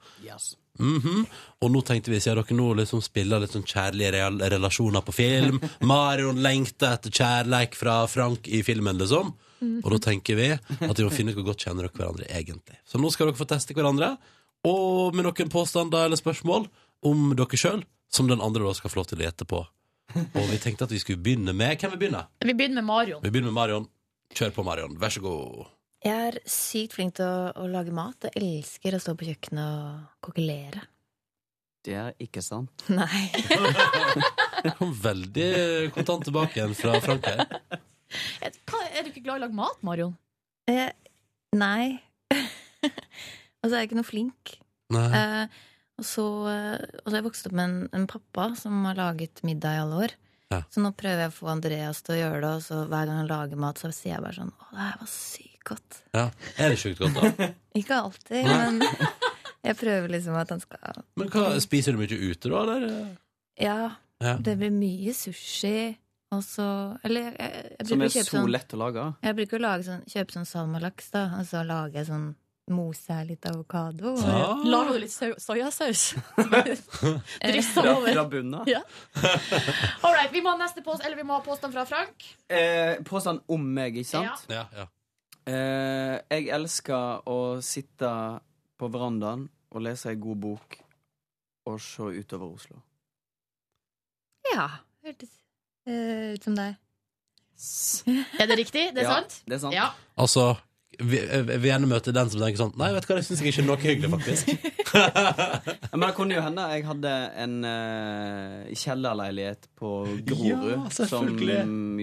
Mhm. Og nå tenkte vi, siden dere nå liksom spiller litt sånn kjærlige real relasjoner på film Marion lengter etter kjærleik fra Frank i filmen, liksom. Mhm. Og da tenker vi at vi må finne ut hvor godt kjenner dere hverandre egentlig. Så nå skal dere få teste hverandre, og med noen påstander eller spørsmål om dere sjøl, som den andre da skal få lov til å gjette på. Og vi tenkte at vi skulle begynne med Hvem vil begynne? Vi begynner med Marion. Vi begynner med Marion. Kjør på, Marion. Vær så god. Jeg er sykt flink til å, å lage mat. Jeg elsker å stå på kjøkkenet og kokkelere. Det er ikke sant. Nei. Kom veldig kontant tilbake igjen fra Frank her. Er, hva- er du ikke glad i å lage mat, Marion? Eh, nei. altså, jeg er ikke noe flink. Nei. Eh, og, så, eh, og så har jeg vokst opp med en, en pappa som har laget middag i alle år. Så nå prøver jeg å få Andreas til å gjøre det, og så hver gang han lager mat, så sier jeg bare sånn Å, det her var sykt godt. Ja. Er det sjukt godt, da? Ikke alltid, Nei. men jeg prøver liksom at han skal Men hva, Spiser du mye ute, da? Eller? Ja. Ja. Det blir mye sushi, og så Eller jeg, jeg, jeg Som er bruker å kjøpe så sånn- lett å lage. jeg bruker å lage sånn, kjøpe sånn salmalaks, da, og så lager jeg sånn Moser jeg litt avokado. og- Ah. Lager du litt sau- soyasaus? Eh, Drysser Fra- over. fra bunnen av? Ja. All right, vi må ha neste påst, eller vi må ha påstand fra Frank. Eh, påstand om meg, ikke sant? Ja, ja. Eh, jeg elsker å sitte på verandaen og lese ei god bok og se utover Oslo. Ja. Hørtes eh, ut som deg. Er det riktig? Det er Ja, sant? det er sant. Ja. Altså, vi, jeg vil gjerne møte den som tenker sånn Nei, vet du hva, det syns jeg ikke er noe hyggelig, faktisk. Ja, Men det kunne jo hende jeg hadde en eh, kjellerleilighet på Grorud Ja, som selvfølgelig.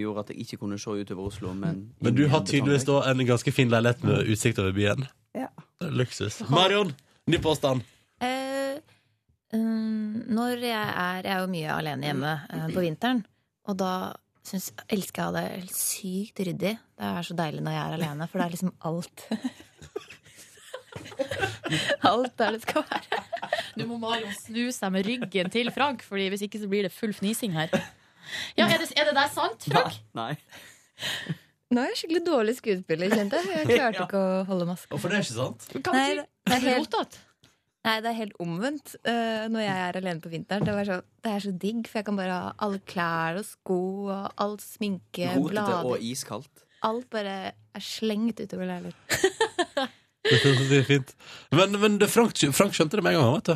gjorde at jeg ikke kunne se utover Oslo, men Men du har tydeligvis da en ganske fin leilighet med utsikt over byen. Ja. Det er Luksus. Marion, ny påstand. Eh, um, når jeg er Jeg er jo mye alene hjemme eh, på vinteren, og da syns, elsker jeg å ha det helt sykt ryddig. Det er så deilig når jeg er alene, for det er liksom alt. alt der det skal være. Du må Marion snu seg med ryggen til Frank, Fordi hvis ikke så blir det full fnising her. Ja, Er det, er det der sant, Frank? Nei. Nå er jeg skikkelig dårlig skuespiller, kjente jeg. Jeg klarte ikke å holde masken. Hvorfor det er ikke sant? Kan du si- det er er det helt, nei, det er helt omvendt eh, når jeg er alene på vinteren. Det, var så, det er så digg, for jeg kan bare ha alle klær og sko og all sminke, Rotete blader og iskaldt. Alt bare er slengt utover leiligheten. Det er fint. Men, men det, Frank, Frank skjønte det med en gang, vet du.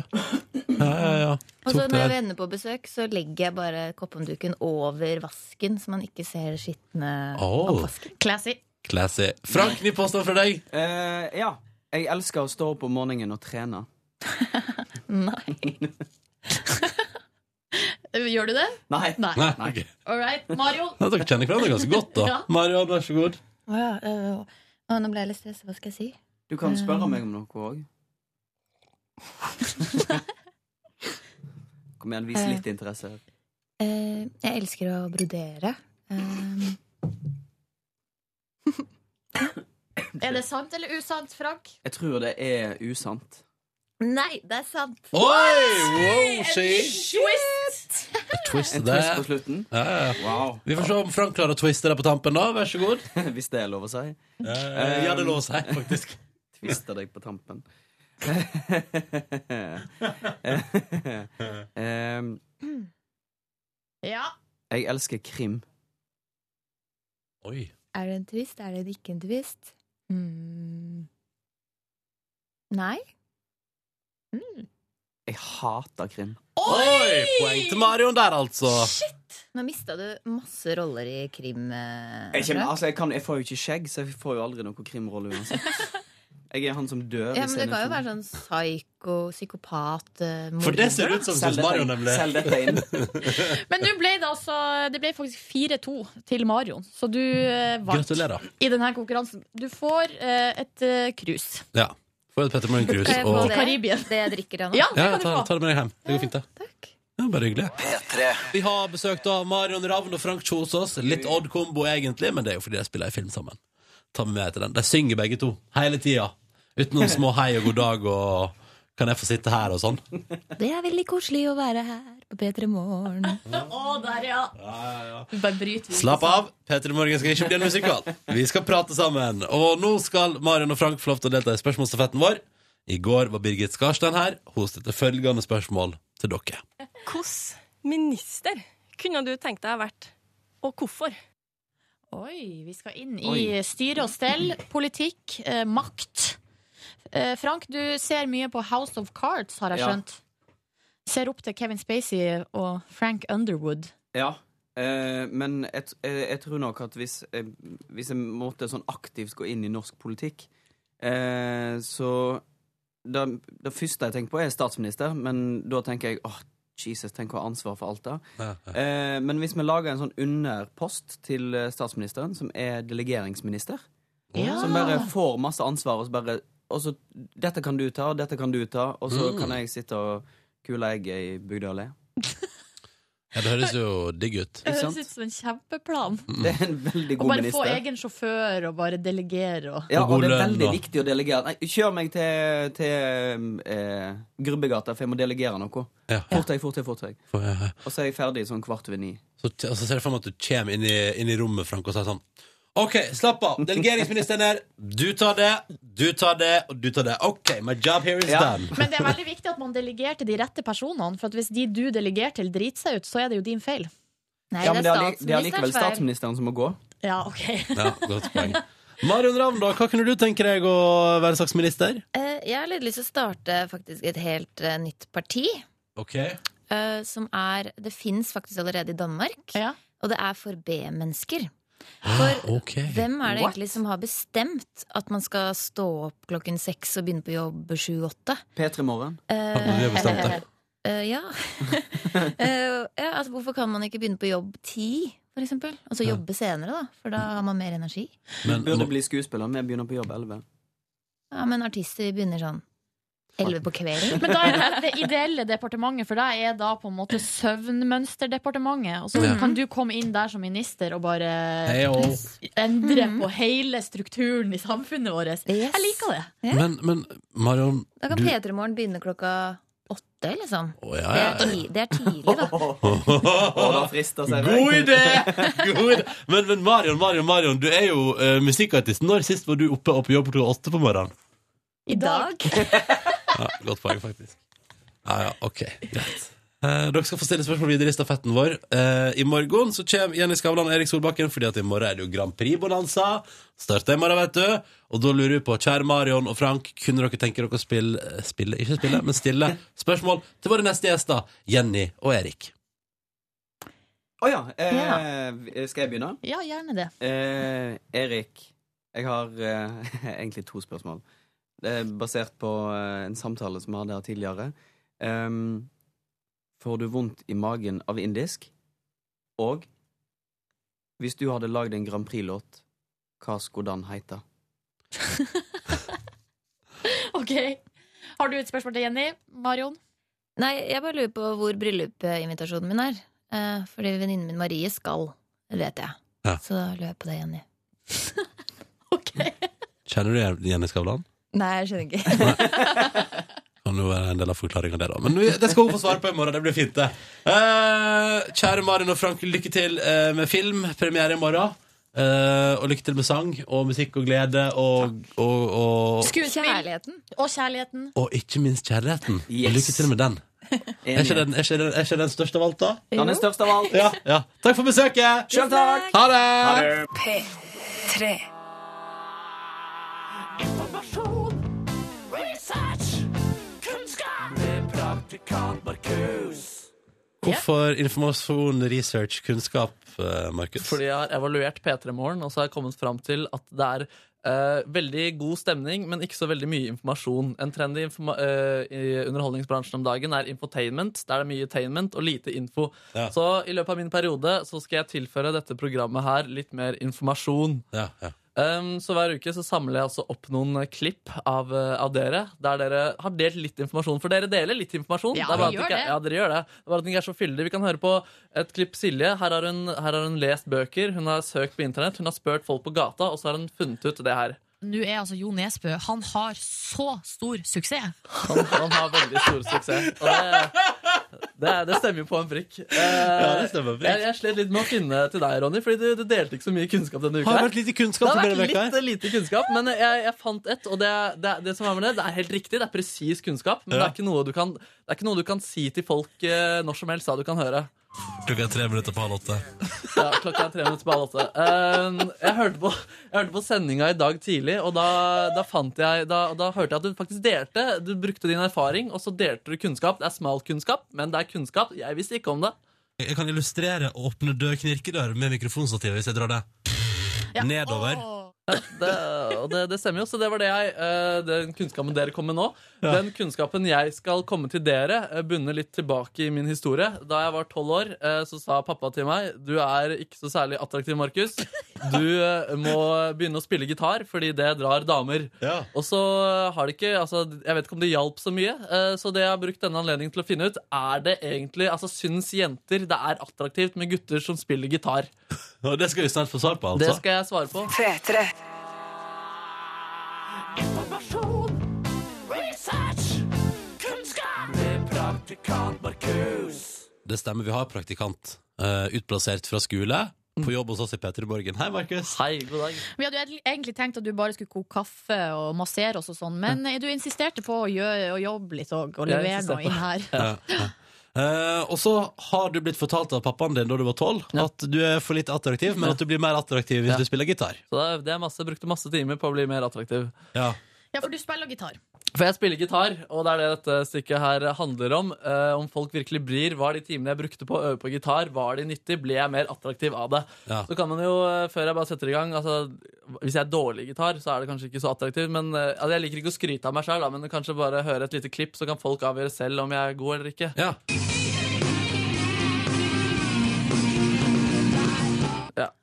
Ja, ja, ja. Og så Tok når det jeg her. vender på besøk, så legger jeg bare kopphåndduken over vasken, så man ikke ser skitne Åh. oppvasken. Classy. Classy. Frank, ny påstand fra deg. Eh, ja. Jeg elsker å stå opp om morgenen og trene. Nei. Gjør du det? Nei. Nei. ok. All right. Mario. Ja, dere kjenner hverandre ganske godt, da. Ja. Marion, vær så god. Å ja, øh, å, nå ble jeg litt stressa. Hva skal jeg si? Du kan spørre meg om noe òg. Kom igjen, vis litt interesse. Eh, jeg elsker å brodere. Eh, Er det sant eller usant, Frank? Jeg tror det er usant. nei, det er sant! Oi! Wow, she Twist! Twist En det. twist på slutten. Ja, ja, ja. Wow. Vi får se om Frank klarer å twiste det på tampen, da. Vær så god. Hvis det er lov å si. Eh, ja, det er lov å si, faktisk. Tvister deg på tampen. Em, Ja. Eh, jeg elsker krim. Oi. Er det en twist? Er det ikke en twist? Mm. Nei. Jeg hater krim. Oi! Poeng til Marion der, altså. Nå mista du masse roller i krim. eh, Jeg, kjenner, Frank. altså, jeg, kan, jeg får jo ikke skjegg, så jeg får jo aldri noen krimrolle uansett. Jeg er han som dør. Ja, hvis men jeg er det kan jo nødt til- være sånn psyko, psykopat eh, For det ser morder. ut som Selg Sons dette Mario, inn. nemlig. Selg dette inn. Men nå ble det altså Det ble faktisk 4-2 til Marion, så du eh, vant Gratulerer. i denne konkurransen. Du får eh, et eh, krus Ja. Få et Petter Morgen-krus. Kan jeg få og- det? til Karibien. Det jeg drikker av nå? Ja, det Ja, kan du ta, få. ta det med deg hjem. Det går fint, det. Ja, bare hyggelig. Vi har besøk av Marion Ravn og Frank Kjosås. Litt odd kombo, egentlig, men det er jo fordi de spiller i film sammen. Ta med meg til den. De synger begge to, hele tida. Utenom små hei og god dag og Kan jeg få sitte her og sånn? Det er veldig koselig å være her på P3 Morgen. der, ja. Bare bryt vi. Slapp av, Petter i Morgen skal ikke bli en musikal. Vi skal prate sammen. Og nå skal Marion og Frank få lov til å delta i spørsmålsstafetten vår. I går var Birgit Skarstein her. Hun stilte følgende spørsmål til dere. Hvordan minister kunne du tenkt deg å ha vært, og hvorfor? Oi, vi skal inn Oi. i styre og stell, politikk, eh, makt. Eh, Frank, du ser mye på House of Cards, har jeg Ja. skjønt. Ser opp til Kevin Spacey og Frank Underwood. Ja. Eh, men jeg, t- jeg, jeg tror nok at hvis, jeg- hvis jeg måtte sånn aktivt gå inn i norsk politikk, eh, så det, det første jeg tenker på, er statsminister, men da tenker jeg åh, Jesus, tenk å ha ansvar for alt det. Ja, Eh, men hvis vi lager en sånn underpost til eh, statsministeren, som er delegeringsminister, Ja. som bare får masse ansvar, og så bare og så, Dette kan du ta, og dette kan du ta, og så Mm. kan jeg sitte og kule egget i Bygdøy allé. Ja, det høres jo digg ut. Det høres ut som en kjempeplan. Det er en veldig Mm. Å god Mm. bare få minister. egen sjåfør og bare delegere og Ja, og det er veldig da. viktig å delegere. Nei, kjør meg til, til eh, Grubbegata, for jeg må delegere noe. Fort deg, fort deg, fort deg. Og så er jeg ferdig sånn kvart over ni. Så, og så ser jeg for meg at du kommer inn i, inn i rommet, Frank, og sier sånn OK, slapp av. Delegeringsministeren er Du tar det, du tar det, og du tar det. OK, my job here is done. Men det er veldig viktig at man delegerer til de rette personene, for at hvis de du delegerer til, driter seg ut, så er det jo din feil. ja, men det er, alli- det er likevel statsministeren som må gå. Ja, ok. Ja, godt poeng. Marion Ravn, da, hva kunne du tenke deg å være slags minister? Eh, Jeg har litt lyst til å starte faktisk et helt eh, nytt parti. OK. eh, Som er Det fins faktisk allerede i Danmark. Og det er for B-mennesker. Ah, Hvem er det egentlig som har bestemt at man skal stå opp klokken seks og begynne på jobb sju-åtte? P3 Morgen. ja. Eh, ja altså, hvorfor kan man ikke begynne på jobb ti, for eksempel? Og så Ja. jobbe senere, da? For da har man mer energi. Men, Burde bli skuespiller, vi begynner på jobb elleve. Ja, Men artister begynner sånn elleve på kvelden. Men da er det, det ideelle departementet for deg er da på en måte søvnmønsterdepartementet. Og så Ja. kan du komme inn der som minister og bare Hei, og- endre på hele strukturen i samfunnet vårt. Jeg liker det. Men, men Marion Da kan du... P3morgen begynne klokka åtte, liksom. ja, ja, ja. Det, er ti, det er tidlig, da. God idé! God idé. Men, men Marion, Marion, Marion, du er jo eh, musikkartist. Når sist var du oppe og på jobb klokka åtte på morgenen? I dag. Ja, godt poeng, faktisk. Ja, ja, ok, greit. Eh, dere skal få stille spørsmål videre i stafetten vår. Eh, I morgen så kommer Jenny Skavlan og Erik Solbakken, fordi at i morgen er det jo Grand Prix-bonanza. Starter i morgen, vet du. Og da lurer vi på, kjære Marion og Frank, kunne dere tenke dere å spille, eh, spille ikke spille, men stille spørsmål til våre neste gjester, Jenny og Erik? Å ja, eh, skal jeg begynne? Ja, gjerne det. Eh, Erik, jeg har eh, egentlig to spørsmål. Det er basert på eh, en samtale som vi hadde her tidligere. Ehm, får du vondt i magen av indisk? Og hvis du hadde lagd en Grand Prix-låt, hva skulle den heite? Ok. Har du et spørsmål til Jenny? Marion? Nei, jeg bare lurer på hvor bryllupinvitasjonen min er. Eh, fordi venninnen min Marie skal, det vet jeg. Ja. Så da lurer jeg på det, Jenny. Kjenner du Jenny Skavlan? Nei, jeg skjønner ikke. Kan jo være en del av forklaringen der, da. Men vi- det skal hun få svare på i morgen. Det blir fint, det. Eh, kjære Marin og Frank, lykke til eh, med film. Premiere i morgen. Eh, og lykke til med sang og musikk og glede og, og, og, Kjærligheten. Og kjærligheten. og ikke minst kjærligheten. Og lykke til med den. Er ikke den, er ikke den, er ikke den største av alt, da? Den er størst av alt. Ja, ja. Takk for besøket! Selv takk. Ha det! Ha det. P3. Informasjon, research, kunnskap med praktikant Markus. Hvorfor informasjon, research, kunnskap, eh, Markus? Fordi jeg har evaluert P3 Morgen, og så har jeg kommet fram til at det er eh, veldig god stemning, men ikke så veldig mye informasjon. En trend i, informa eh, i underholdningsbransjen om dagen er infotainment. Der det er mye attainment og lite info. Så i løpet av min periode så skal jeg tilføre dette programmet her litt mer informasjon. Um, så hver uke så samler jeg også opp noen eh, klipp av, eh, av dere, der dere har delt litt informasjon. For dere deler litt informasjon. Ja, Det er vi bare at gjør ikke- det. Ja, dere gjør det. Det er bare at den ikke er så fyldig. Vi kan høre på et klipp Silje. Her har, hun, her har hun lest bøker, hun har søkt på internett, hun har spurt folk på gata, og så har hun funnet ut det her. nå er altså Jo Nesbø Han har så stor suksess. Han, han har veldig stor suksess. Og det, det, er- det stemmer jo på en prikk. Eh, Ja, det stemmer på en prikk. Jeg, jeg slet litt med å finne til deg, Ronny, Fordi du, du delte ikke så mye kunnskap denne uka. Har det her. vært lite kunnskap Det har denne vært uka her? litt eh, lite kunnskap, men jeg, jeg fant et, og det, det, det som er med det, det er helt riktig. Det er presis kunnskap, men det, Ja. er ikke noe du kan, det er ikke noe du kan si til folk eh, når som helst. Da du kan høre. Klokka er tre minutter på halv åtte. Ja, klokka er tre minutter på halv åtte. Eh, jeg hørte på, jeg hørte på sendinga i dag tidlig, og da, da, fant jeg, da, da hørte jeg at du faktisk delte. Du brukte din erfaring, og så delte du kunnskap. Det er smal kunnskap, men det er kunnskap. Jeg visste ikke om det. Jeg kan illustrere å åpne død knirkedør med mikrofonstativ hvis jeg drar det nedover. Ja, det, og det, det stemmer jo, så det var det jeg eh, Den kunnskapen dere kom med nå. Den kunnskapen jeg skal komme til dere, eh, bunner litt tilbake i min historie. Da jeg var tolv år, eh, så sa pappa til meg Du er ikke så særlig attraktiv, Markus. Du eh, må begynne å spille gitar, fordi det drar damer. Og så har det ikke altså, Jeg vet ikke om det hjalp så mye, eh, så det jeg har brukt denne anledningen til å finne ut, er det egentlig Altså, syns jenter det er attraktivt med gutter som spiller gitar? Og det skal vi snart få svar på, Det altså. skal jeg svare på. Informasjon, research, kunnskap med praktikant Markus. Det stemmer, vi har praktikant eh, utplassert fra skole på jobb hos oss i Peter Borgen. Hei, Markus. Hei, god dag. Vi hadde jo egentlig tenkt at du bare skulle koke kaffe og massere oss og sånn, men eh, du insisterte på å, gjøre, å jobbe litt og, og Jeg levere noe insisterer på inn her. Ja. Eh, og så har du blitt fortalt av pappaen din da du var tolv, at du er for litt attraktiv, men at du blir mer attraktiv hvis du spiller gitar. Så det er, det er masse, jeg brukte masse timer på å bli mer attraktiv. Ja, for du spiller gitar. For jeg spiller gitar, og det er det dette stykket her handler om. Eh, om folk virkelig blir. Var de timene jeg brukte på å øve på gitar, var de nyttig? Ble jeg mer attraktiv av det? Ja. Så kan man jo, eh, før jeg bare setter i gang altså, Hvis jeg er dårlig i gitar, så er det kanskje ikke så attraktiv. Men eh, altså, Jeg liker ikke å skryte av meg sjøl, men kanskje bare høre et lite klipp, så kan folk avgjøre selv om jeg er god eller ikke. Ja.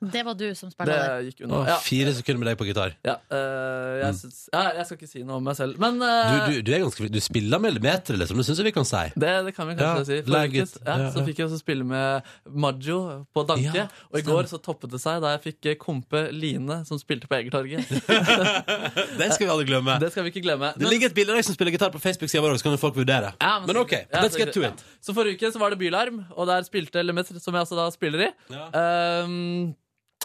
Det var du som Det spilte der. gikk unna. Å, Ja. Fire sekunder med deg på gitar. Ja, eh, jeg, syns, ja, jeg skal ikke si noe om meg selv, men Du, eh, du, du er ganske flink. Du spiller med millimeter, liksom. Det syns jeg vi kan si. Det, det kan vi Ja, kanskje si. lag Forrige it. uke ja, Ja, så ja. fikk jeg også spille med Maggio på Ja, Danke. og i går så toppet det seg da jeg fikk eh, kompe Line, som spilte på Egertorget. Det skal vi aldri glemme. Det skal vi ikke glemme. Det ligger et bilde av deg som spiller gitar på Facebook-sida vår, så kan jo folk vurdere. Ja, men, OK, Ja, let's så- get to ja. it. Så forrige uke så var det Bylarm, og der spilte Lemaitre, som jeg altså da spiller i. Ehm,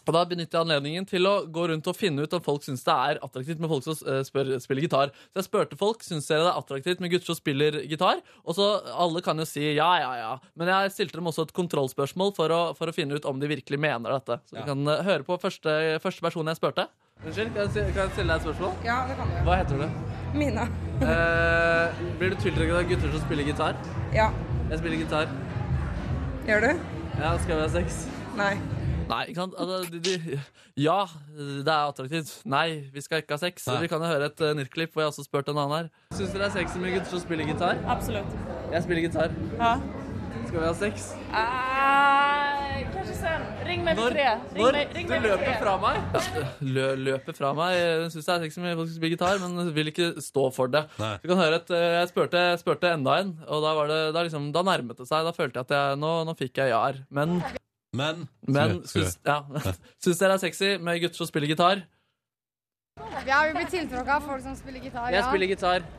og Da benytter jeg anledningen til å gå rundt og finne ut om folk syns det er attraktivt med folk som eh, spør, spiller gitar. Så jeg spurte folk syns dere det er attraktivt med gutter som spiller gitar. Og så alle kan jo si ja, ja, ja. Men jeg stilte dem også et kontrollspørsmål for å, for å finne ut om de virkelig mener dette. Så vi kan eh, høre på første, første person jeg spurte. Unnskyld, kan jeg, si- kan jeg stille deg et spørsmål? Ja, det kan Hva heter du? Mina. Eh, blir du tiltrukket av gutter som spiller gitar? Ja. Jeg spiller gitar. Gjør du? Ja, skal vi ha sex? Nei. Nei, ikke sant? Altså, de, de, ja, det er attraktivt. Nei, vi skal ikke ha sex. Nei. Vi kan jo høre et uh, nytt klipp hvor jeg også spurte en annen her. Syns dere det er sexy med gutter som spiller gitar? Absolutt. Jeg spiller gitar. Ja. Skal vi ha sex? kanskje sen. Ring meg Når? ved tre. Ring Når? meg- ring Du meg ved løper tre. fra meg? Lø, løper fra meg. Hun syns det er sexy med folk som spiller gitar, men vil ikke stå for det. Du kan høre at eh, Jeg spurte, jeg spurte enda en, og da, var det, da, liksom, da nærmet det seg. Da følte jeg at jeg, nå, nå fikk jeg ja-er. Men, men, men Skal vi- syns, ja. syns dere det er sexy med gutter som spiller gitar? Ja, vi blir tiltrukket av folk som spiller gitar. Jeg ja. spiller gitar.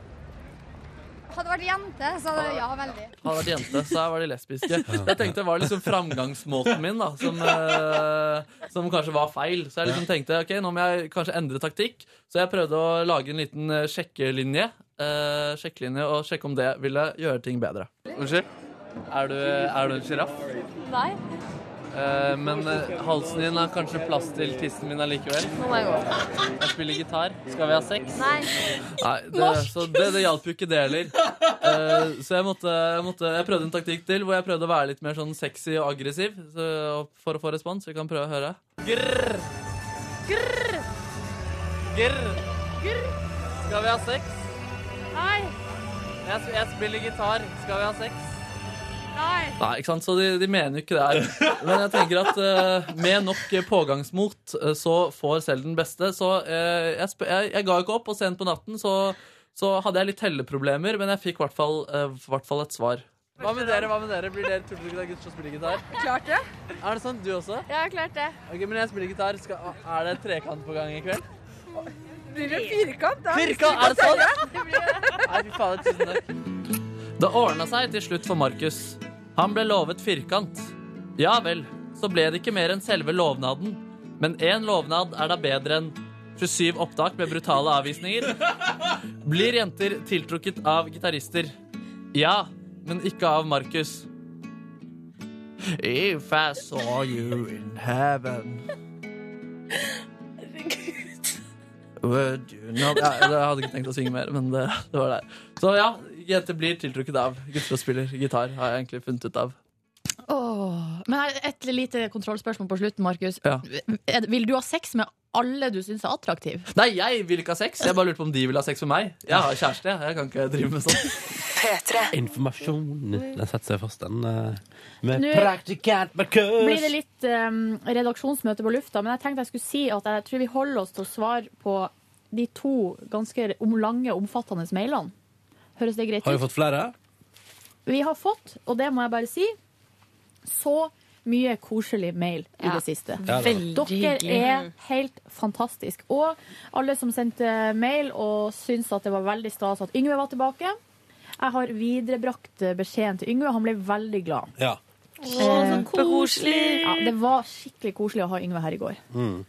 Hadde det vært jente, så hadde jeg ja veldig. Hadde vært jente, så jeg var de lesbiske. Jeg tenkte det var liksom framgangsmåten min da som, eh, som kanskje var feil. Så jeg liksom tenkte ok, nå må jeg kanskje endre taktikk. Så jeg prøvde å lage en liten eh, sjekkelinje. eh, sjekkelinje Og sjekke om det ville gjøre ting bedre. Unnskyld? Er du, er du en sjiraff? Nei. Eh, men eh, halsen din har kanskje plass til tissen min allikevel. Nå må jeg gå. Jeg spiller gitar. Skal vi ha sex? Nei. Nei, det, så det, det hjalp jo ikke det heller. Eh, så jeg, måtte, jeg, måtte, jeg prøvde en taktikk til hvor jeg prøvde å være litt mer sånn sexy og aggressiv så, for å få respons. Vi kan prøve å høre. Grr, Grr. grr. Grr. Skal vi ha sex? Nei. Jeg, sp- jeg spiller gitar. Skal vi ha sex? Nei. Nei, ikke sant? Så de, de mener jo ikke det her. Men jeg tenker at eh, med nok eh, pågangsmot eh, så får selv den beste. Så eh, jeg, sp jeg, jeg ga ikke opp, og sent på natten så, så hadde jeg litt telleproblemer, men jeg fikk i hvert fall, eh, hvert fall et svar. Hva med dere? hva med dere? Blir dere tullete av gutter som spiller gitar? Klart det. Er det sant, du også? Jeg har klart det. Ok, men jeg spiller gitar. Skal, er det trekant på gang i kveld? blir det firkant. da. Firkant, er det sant? Det blir det. Nei, fy faen, tusen takk. Det ordna seg til slutt for Markus. Han ble lovet firkant. Ja vel, så ble det ikke mer enn selve lovnaden. Men én lovnad er da bedre enn 27 opptak med brutale avvisninger. Blir jenter tiltrukket av gitarister? Ja, men ikke av Markus. If I saw you in heaven Would you know ja, Jeg hadde ikke tenkt å synge mer, men det, det var der. Så ja, jenter blir tiltrukket av gutter og spiller gitar, har jeg egentlig funnet ut av. Åh. Men her, et lite kontrollspørsmål på slutten, Markus. Ja. Er det- Vil du ha sex med alle du syns er attraktive? Nei, jeg vil ikke ha sex. Jeg bare lurte på om de vil ha sex med meg. Jeg har kjæreste, jeg. jeg kan ikke drive med sånt. Informasjon. Den setter seg fast, den. eh, Med Nå- praktikant Markus. blir det litt um, redaksjonsmøte på lufta, men jeg tenkte jeg skulle si at jeg tror vi holder oss til å svare på de to ganske om- lange, omfattende mailene. Høres det greit Har vi fått flere? Vi har fått, og det må jeg bare si, så mye koselig mail i det siste. Ja, det har det. Dere Veldig er hyggelig. helt fantastisk. Og alle som sendte mail og syntes at det var veldig stas at Yngve var tilbake. Jeg har viderebrakt beskjeden til Yngve, og han ble veldig glad. Ja. Eh, Ja, det var skikkelig koselig å ha Yngve her i går. Mm.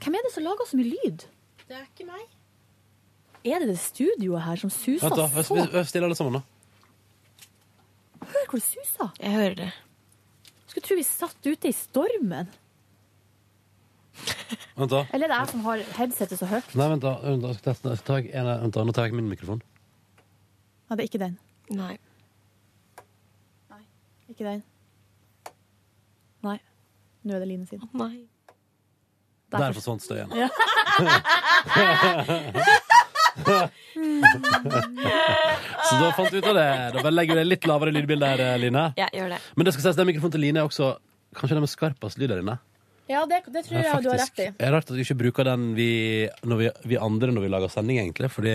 Hvem er det som lager så mye lyd? Det er ikke meg. Er det det studioet her som suser Vent, da. så? øv- øv- Stille alle sammen, da. Hør hvor det suser. Jeg hører det. Skulle tro vi satt ute i stormen. Vent, da. Eller er det jeg som har headsetet så høyt? Nei, vent, da. Vent, da. Jeg skal teste. Jeg skal ta en, vent, da. Nå tar jeg min mikrofon. Nei, det er ikke den. Nei. Ikke den. Nei. Nå er det Line sin. Nei. Der, forsvant støyen. Ja. Så da fant vi ut av det. Da bare legger vi det litt lavere lydbilde her, eh, Line. Ja, gjør det. Men det skal sies, den mikrofonen til Line er også kanskje den med skarpest lyd der inne. Ja, det, det tror jeg du har faktisk. rett i. Det er rart at vi ikke bruker den vi, når vi, vi andre når vi lager sending, egentlig, fordi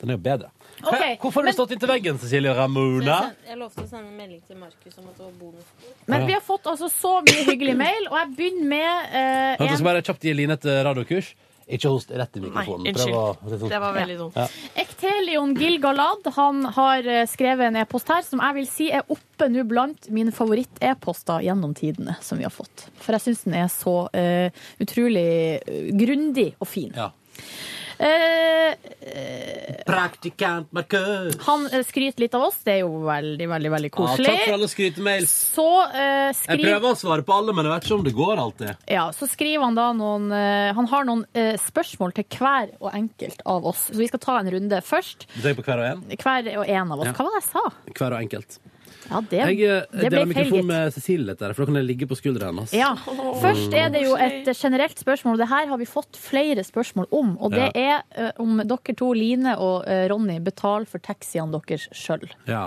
den er jo bedre. Ok, Hvorfor har du stått inntil veggen, Cecilie Ramona? Jeg lovte å sende en melding til Markus om at det var bonusbord. Men vi har fått altså så mye hyggelig mail, og jeg begynner med eh, Vent, jeg en skal bare kjapt gi Line et eh, radiokurs. Ikke host rett i mikrofonen. Nei, for det unnskyld. var litt sånn- Det var veldig dumt. Ja. Ektelion Gilgalad han har eh, skrevet en e-post her som jeg vil si er oppe nå blant mine favoritt-e-poster gjennom tidene som vi har fått. For jeg syns den er så eh, utrolig eh, grundig og fin. Ja. Eh, eh, Praktikant Markus. han eh, skryter litt av oss, det er jo veldig, veldig, veldig Ja, koselig. takk for alle skrytemails. Så eh, Jeg skriver prøver å svare på alle, men jeg vet ikke om det går alltid. Ja, så skriver han da noen eh, Han har noen eh, spørsmål til hver og enkelt av oss. Så vi skal ta en runde først. Du tenker på hver og en? Hver og en av oss. Ja. Hva var det jeg sa? Hver og enkelt. Ja, det, jeg eh, det ble deler feil, mikrofon gitt. med Cecilie litt der, for da kan jeg ligge på skuldra hennes. Ja. Først er det jo et generelt spørsmål. Det her har vi fått flere spørsmål om. Og det er eh, om dere to, Line og eh, Ronny, betaler for taxiene deres sjøl. Ja.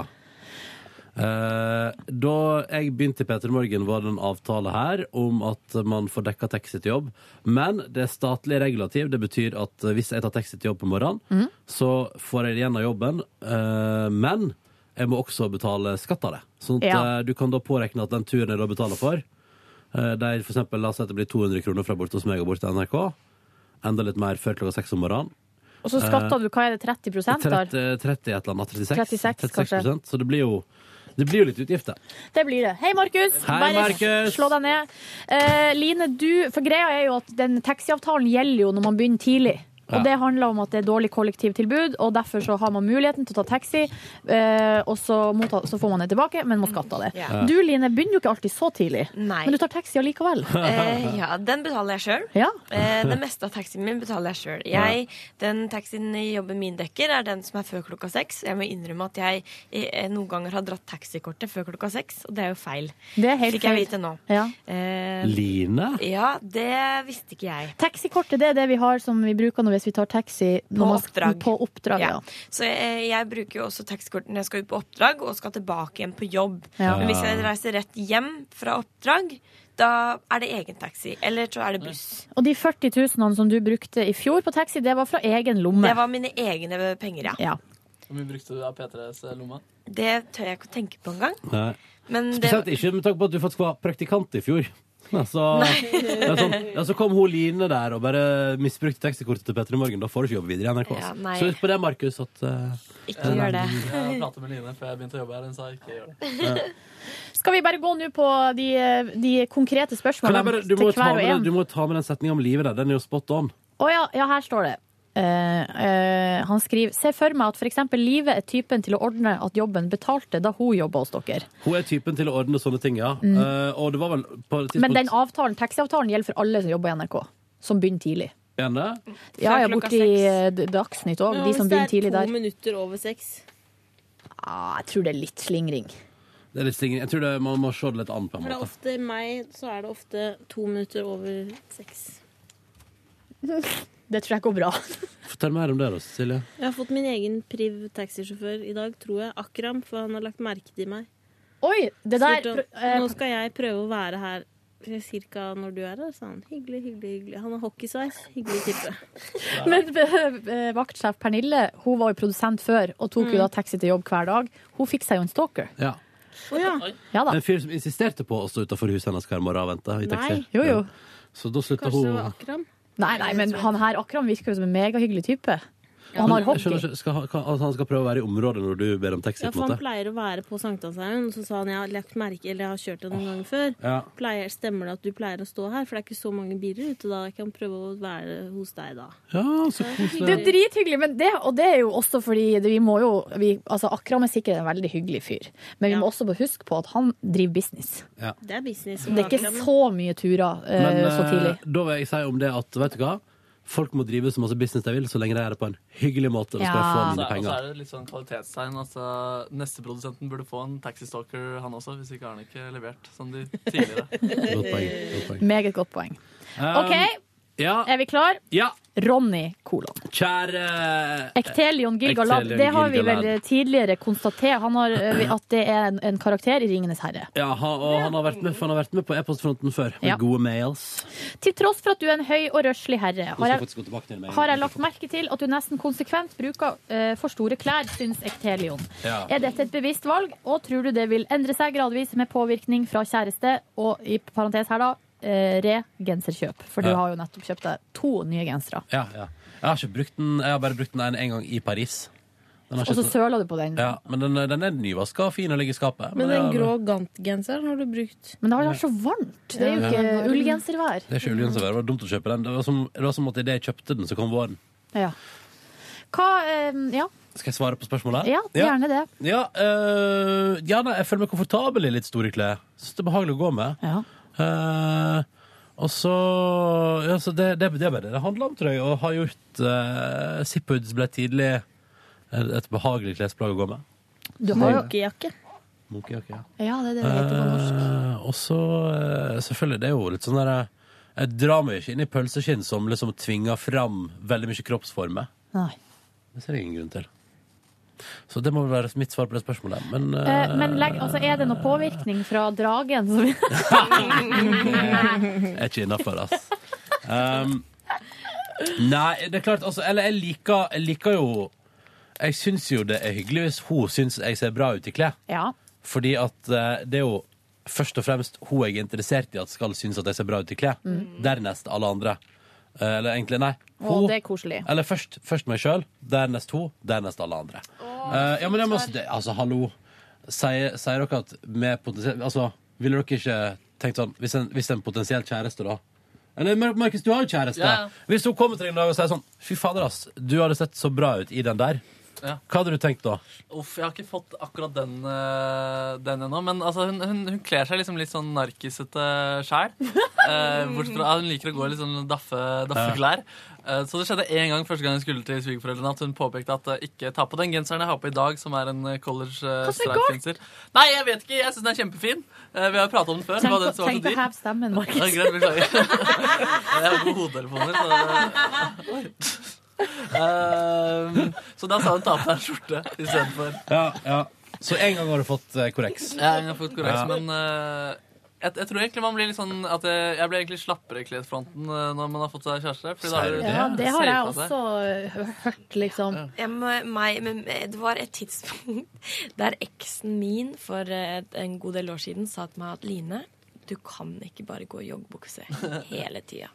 Eh, da jeg begynte i P3 Morgen, var det en avtale her om at man får dekka taxi til jobb. Men det er statlig regulativ. Det betyr at eh, hvis jeg tar taxi til jobb på morgenen, Mhm. så får jeg det igjen av jobben. Eh, men jeg må også betale skatt av det. Sånn at Ja. eh, du kan da påregne at den turen jeg da betaler for eh, de for eksempel, La oss si at det blir 200 kroner fra borte hos meg og bort til NRK. Enda litt mer før klokka seks om morgenen. Og så Eh, skatter du, hva er det, 30 30, der? 30 eh, et eller annet. 36, 36, kanskje. prosent, Så det blir jo det blir jo litt utgifter. Det blir det. Hei, Markus. Hei, Bare Markus. slå deg ned. Eh, Line, du, for greia er jo at den taxiavtalen gjelder jo når man begynner tidlig. Ja. Og Det handler om at det er dårlig kollektivtilbud, og derfor så har man muligheten til å ta taxi. eh, og så, motta, så får man det tilbake, men må skatte av det. Ja. Du Line, begynner jo ikke alltid så tidlig, Nei. men du tar taxi allikevel. Eh, ja, den betaler jeg sjøl. Ja. Eh, det meste av taxien min betaler jeg sjøl. Jeg- Den taxien i jobben min dekker, er den som er før klokka seks. Jeg må innrømme at jeg eh, noen ganger har dratt taxikortet før klokka seks, og det er jo feil. Det er helt Fikk jeg feil. vite nå. Ja. Eh, Line? Ja, det visste ikke jeg. Taxikortet det er det vi har som vi bruker når hvis vi tar taxi På når man- oppdrag. På oppdrag ja. Så jeg, jeg bruker jo også taxikort når jeg skal ut på oppdrag og skal tilbake igjen på jobb. Ja. Men hvis jeg reiser rett hjem fra oppdrag, da er det egen taxi. Eller så er det buss. Og de 40 000 som du brukte i fjor på taxi, det var fra egen lomme. Det var mine egne penger, ja. Ja. Hvor mye brukte du av P3s eh, lomma? Det tør jeg ikke å tenke på engang. Nei. Men det, Spesielt ikke med tanke på at du faktisk var praktikant i fjor. Ja, så, det er sånn, ja, så kom hun Line der og bare misbrukte tekstkortet til Petter i morgen. Da får du ikke jobbe videre i NRK. altså. Ja, nei. så husk på det, Markus, at eh, eh, Jeg pratet med Line før jeg begynte å jobbe her. Hun sa ikke gjør det. Skal vi bare gå nå på de, de Kan konkrete jeg spørsmålene bare, du, til må ta hver og med, den- en? du må ta med den setninga om livet der. Den er jo spot on. Å ja, ja, her står det. Eh, eh, han skriver Se for meg at f.eks. Live er typen til å ordne at jobben betalte da hun jobba hos dere. Hun er typen til å ordne sånne ting, ja. Mm. Eh, og det var vel på et tidspunkt Men den avtalen, taxiavtalen gjelder for alle som jobber i NRK, som begynner tidlig. Igjen det? Ja, jeg Før er klokka borti eh, D- Dagsnytt òg, de som begynner tidlig Hvis det er der. to minutter over seks. Ah, jeg tror det er litt slingring. Det er litt stingende. Jeg tror det, man må se det litt an, på en For det er måte. ofte meg, så er det ofte to minutter over seks. Det tror jeg går bra. Fortell mer om det, da, Silje. Jeg har fått min egen priv taxisjåfør i dag, tror jeg. Akram, for han har lagt merke til meg. Oi, det der- eh, Spurte han, Nå skal jeg prøve å være her eh, cirka når du er her, sa han. Hyggelig, hyggelig, hyggelig. Han har hockeysveis. Hyggelig type. Men eh, vaktsjef Pernille hun var jo produsent før og tok Mm. jo da taxi til jobb hver dag. Hun fikk seg jo en stalker. Ja. Ja da. En fyr som insisterte på å stå utafor huset hennes hver morgen og vente i taxi. Nei. Jo, jo. Så da slutta Kanskje det var hun Akram? Nei, nei, men han her Akram virker jo som en megahyggelig type. Og han har Jeg skjønner hockey. ikke, skal, han- altså, han skal prøve å være i området når du ber om taxi? Ja, på for en han måte. pleier å være på Sankthanshaugen, og så sa han jeg har lagt merke, eller jeg har kjørt det noen ganger før. Ja. Pleier, stemmer det at du pleier å stå her, for det er ikke så mange biler ute da. Jeg kan prøve å være hos deg da. Ja, så Det er drithyggelig, men det, og det er jo også fordi det, vi må jo vi, altså Akram er sikkert en veldig hyggelig fyr, men vi må også bare huske på at han driver business. Ja. Det er business. Det er ikke så mye turer eh, Men så tidlig. eh, da vil jeg si om det at vet du hva? folk må drive så masse business de vil, så lenge de gjør det på en hyggelig måte. Og skal få mine Så er- Og så penger. er det litt sånn kvalitetstegn. Altså, Nesteprodusenten burde få en taxistalker, han også, hvis ikke har han ikke levert som de tidligere. Godt poeng, Meget godt poeng. Um, OK, Ja. er vi klar? ja. Ronny kolon. Kjære Ektelion Gilgalad, Ektelion det har vi Gilgalad. vel eh, tidligere konstatert. Han har, eh, at det er en, en karakter i 'Ringenes herre'. Ja, han, og han har vært med, for han har vært med på e-postfronten før. Med Ja. gode mails. Til tross for at du er en høy og røslig herre, Nå skal har jeg jeg, faktisk gå tilbake til mailen. har jeg lagt merke til at du nesten konsekvent bruker eh, for store klær, syns Ektelion. Ja. Er dette et bevisst valg, og tror du det vil endre seg gradvis med påvirkning fra kjæreste og i parentes her da, eh, re genserkjøp? For du Ja. har jo nettopp kjøpt deg to nye gensere. Ja, ja. Jeg har ikke brukt den Jeg har bare brukt den en, en gang i Paris. Den har Og så ikke- søler du på den. Ja, men den, den er nyvaska og fin og ligger i skapet. Men jeg den har- grå gantgenseren har du brukt. Men det har vært så varmt. Det er jo Ja. ikke ullgenservær. Det er ikke ullgenservær. Det var dumt å kjøpe den. Det var som, det var som at idet jeg kjøpte den, så kom våren. Ja. Hva eh, Ja. Skal jeg svare på spørsmålet? Ja, gjerne det. Ja, øh, ja nei, jeg føler meg komfortabel i litt store klær. Syns det er behagelig å gå med. Eh, og så ja, så det, det, det er bare det det handler om, tror jeg. Og har gjort uh, Zippoods ble tidlig et et behagelig klesplagg å gå med. Du har jo- Hockeyjakke. Munkejakke, ja. Ja, det er det det heter på norsk. Eh, og så eh, selvfølgelig, det er jo litt sånn der eh, Jeg drar meg ikke inn i pølseskinn som liksom tvinger fram veldig mye kroppsformer. Nei. Det ser jeg ingen grunn til. Så det må vel være mitt svar på det spørsmålet. Men, Eh, Men legg, altså, er det noe påvirkning fra dragen? Som... Jeg er ikke innafor, ass. Um, nei, det er klart, altså Eller jeg liker, jeg liker jo Jeg syns jo det er hyggelig hvis hun syns jeg ser bra ut i klær. Ja. Fordi at eh, det er jo først og fremst hun jeg er interessert i at skal synes at jeg ser bra ut i klær. Mm. Dernest alle andre. Eh, Eller egentlig, nei. Å, Hun, det er koselig. eller først, først meg sjøl, dernest hun, dernest alle andre. Eh, ja, men jeg må, det, altså, hallo. Sier, sier dere at med potensielt Altså, ville dere ikke tenkt sånn Hvis en, hvis en potensiell kjæreste, da Eller Mar- Markus, du har jo kjæreste. Ja, ja. Hvis hun kommer til deg en dag og sier sånn Fy fader, ass, du hadde sett så bra ut i den der. Ja. Hva hadde du tenkt da? Uff, jeg har ikke fått akkurat den, eh, den ennå. Men altså, hun, hun, hun kler seg liksom litt sånn narkisete sjæl. Eh, bortsett fra at hun liker å gå i litt sånn daffe, daffeklær. Eh, så det skjedde én gang første gang jeg skulle til svigerforeldrene, at hun påpekte at eh, ikke ta på den genseren jeg har på i dag, som er en eh, college eh, Hva som er stripes-genser. Nei, jeg vet ikke. Jeg syns den er kjempefin. Eh, vi har jo prata om den før. Tenk hva å- den som var så tenk å dyr. heve Ja, stemmen, Markus. greit, beklager. Jeg har gode hodetelefoner. Så Ehm, så da sa hun ta på deg en skjorte istedenfor. Ja, ja. Så en gang har du fått eh, korreks. Ja, jeg har fått korreks, Ja. men eh, jeg, jeg tror egentlig man blir litt sånn at jeg, jeg blir egentlig slappere i klesfronten eh, når man har fått seg kjæreste. fordi da er det- Ja, det har safe jeg av seg. også eh, hørt, liksom. Jeg må- meg, men eh, det var et tidspunkt Nei, eh, der eksen min for et, en god del år siden sa til meg at Line, Du kan ikke bare gå i joggebukse hele tida.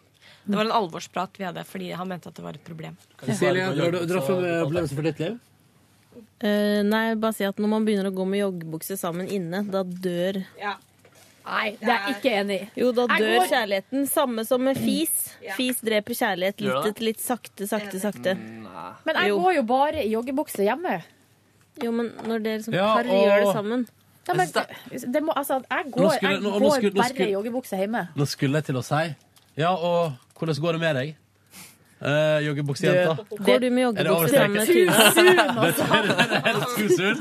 Det var en alvorsprat vi hadde, fordi han mente at det var et problem. Silje, drar du drar fram eh, opplevelsen for ditt liv? Eh, nei, bare si at når man begynner å gå med joggebukse sammen inne, da dør Nei, det er jeg ikke enig i. Jo, da Jeg dør går- kjærligheten. Samme som med fis. Ja. Fis dreper kjærlighet Gjør litt det? etter litt, sakte, sakte, sakte. Men jeg Jo. går jo bare i joggebukse hjemme. Jo, men når dere som Ja, par og- gjør det sammen Ja, men, det må, altså, jeg går, Nå skulle- jeg nå- nå går skulle- nå bare skulle- i joggebukse hjemme. Nå skulle jeg til å si Ja, og hvordan går det med deg? Uh, Joggebuksejenta. Du- Går du med joggebukse Er det over sammen med Tuva? streken? Tusen, altså. Det er helt tusen.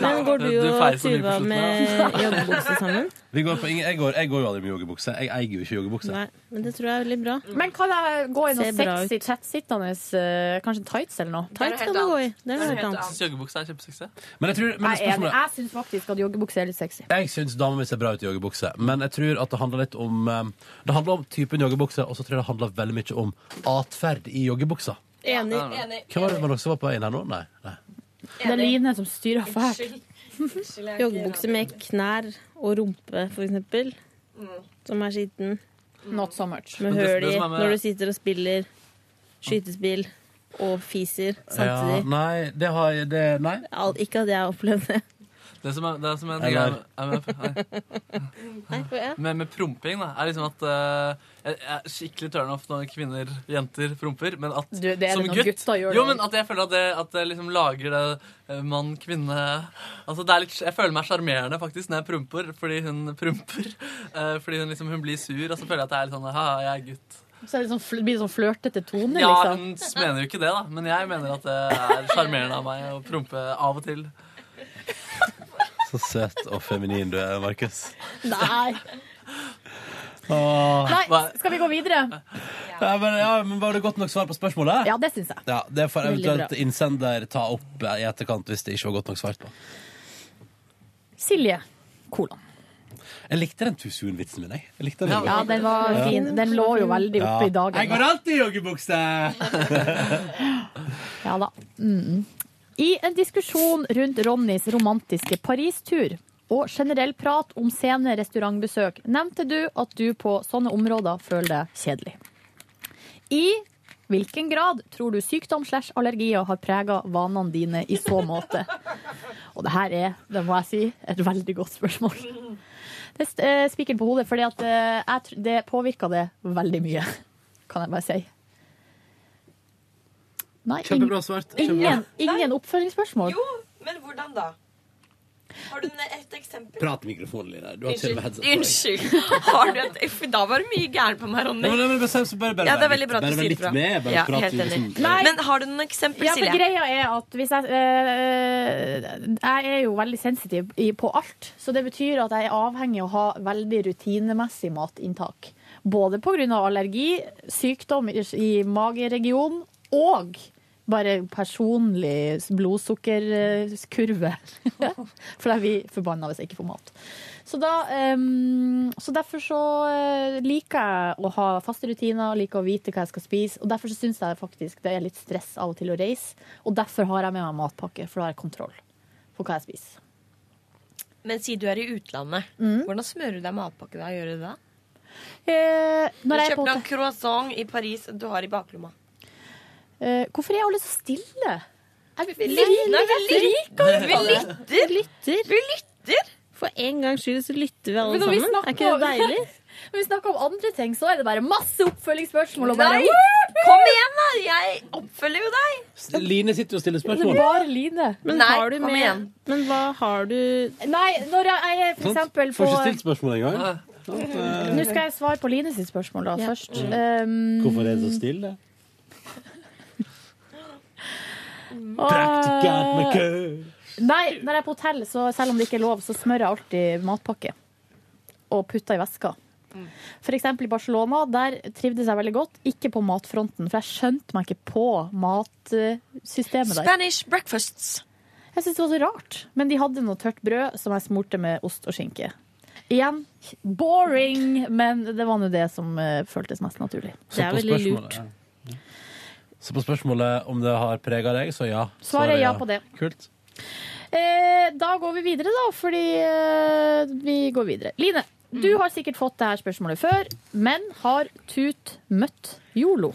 Men går du Du feier og så mye på Tuva slutten, med da. joggebukse sammen? Vi går på ingen, jeg, går, jeg går jo aldri med joggebukse. Jeg eier jo ikke joggebukse. Nei, men det tror jeg er veldig bra. Men kan jeg gå i noe Ser bra sexy tettsittende, eh, kanskje tights eller noe? Tights kan du gå i. Det er noe helt Jeg annet. synes joggebukse er kjempesexy. Men jeg tror men Jeg, er enig. spørsmålet, jeg syns faktisk at joggebukse er litt sexy. Jeg syns dama mi ser bra ut i joggebukse, men jeg tror at det handler litt om eh, Det handler om typen joggebukse, og så tror jeg det handler veldig mye om atferd i joggebuksa. Enig. Hvem var det med dere som var på veien her nå? Nei. nei. Det er Line som styrer fælt. Joggebukse med knær og rumpe, for eksempel. Som er skitten. Not so much. Med Men det- høl det i som er med- når du sitter og spiller skytespill og fiser Ja, samtidig. nei, det har jeg det, Nei. Al- Ikke at jeg har opplevd det. Det som er, det som er en greie Eller- med, er med, Nei, for jeg- med, med promping, da, er liksom at eh, jeg jeg er skikkelig turnoff når kvinner, jenter, promper, men at Du, det er som det når gutt gutta gjør det Jo, også. men at jeg føler at det, at det liksom lager det eh, mann, kvinne Altså, det er litt Jeg føler meg sjarmerende faktisk når jeg promper, fordi hun promper. eh, fordi hun liksom hun blir sur, og så føler jeg at det er litt sånn Ha, jeg er gutt. Så er det sånn, fl- blir det sånn flørtete tone, Ja, liksom. hun s- mener jo ikke det, da, men jeg mener at det er sjarmerende av meg å prompe av og til. Så søt og feminin du er, Markus. Nei. Åh. Nei, skal vi gå videre? Ja, men, ja, men Var det godt nok svar på spørsmålet? Ja, det syns jeg. Ja, Det får Veldig eventuelt bra. innsender ta opp eh, i etterkant hvis det ikke var godt nok svart på. Silje. Kolon. Jeg likte den tusen-vitsen min, jeg. jeg likte den, Ja, den var fin. Den lå jo veldig oppe i dagen. Jeg går alltid i joggebukse! Ja da. Mm. I en diskusjon rundt Ronnys romantiske Paris-tur og generell prat om sene restaurantbesøk, nevnte du at du på sånne områder føler deg kjedelig. I hvilken grad tror du sykdom slash allergier har prega vanene dine i så måte? Og det her er, det må jeg si, et veldig godt spørsmål. Det st- eh, spiker på hodet, for det påvirker det veldig mye, kan jeg bare si. Nei, ing- Kjempebra svart. Ingen, Kjempebra. ingen oppfølgingsspørsmål? Jo, men hvordan da? Har du et eksempel? Prat i mikrofonen, Line. Du har til og med headset på deg. Unnskyld. Har du et Uff, da var det mye gærent på meg, Ja, Ronny. men, men, bare, bare, bare, Ja, det er vær veldig litt- bra at bare, du vær sier litt fra. Med, bare Ja, prat helt enig. liksom- Nei. Men har du noen eksempel, Ja, for Silje? greia er at hvis jeg eh, Jeg er jo veldig sensitiv i- på alt. Så det betyr at jeg er avhengig av å ha veldig rutinemessig matinntak. Både pga. allergi, sykdom i- i mageregionen og bare personlig blodsukkerkurve. For jeg blir forbanna hvis jeg ikke får mat. Så, da, ehm, så derfor så eh, liker jeg å ha faste rutiner, liker å vite hva jeg skal spise. Og derfor så syns jeg faktisk det er litt stress av og til å reise. Og derfor har jeg med meg matpakke, for da har jeg kontroll på hva jeg spiser. Men si du er i utlandet. Mm. Hvordan smører du deg matpakke da? Gjør du det da? Eh, når du jeg er på kjøper en croissant i Paris du har i baklomma. Eh, hvorfor er alle så stille? Jeg Vi lytter. Nei, vi lytter. Vi lytter. Vi lytter. For en gangs skyld så lytter vi alle Men når vi sammen. Er ikke snakker sånn, det deilig? Når vi snakker om andre ting, så er det bare masse oppfølgingsspørsmål. Og bare, Nei! Kom igjen, da! Jeg oppfølger jo deg. Line sitter og stiller Det spørsmål. er bare Line. Men Nei, har du kom med igjen. Men hva har du Nei, når jeg jeg er for Sant? eksempel på Får ikke stilt spørsmål engang. Nå skal jeg svare på Line sitt spørsmål da, først. Um, Hvorfor er det så stille? Mm. åh. Praktikant med kø. Nei, når jeg er på hotell, så selv om det ikke er lov, så smører jeg alltid matpakke. Og putter i veska. For eksempel i Barcelona, der trivdes jeg veldig godt. Ikke på matfronten, for jeg skjønte meg ikke på matsystemet der. Spanish breakfasts. Jeg syntes det var så rart. Men de hadde noe tørt brød som jeg smurte med ost og skinke. Igjen boring, men det var nå det som eh, føltes mest naturlig. Så på spørsmålet- ja. Så på spørsmålet om det har prega deg, så ja. Svaret er ja på det. Kult. Eh, da går vi videre, da, fordi eh, vi går videre. Line, Du har sikkert fått det her spørsmålet før, men har Tut møtt Yolo?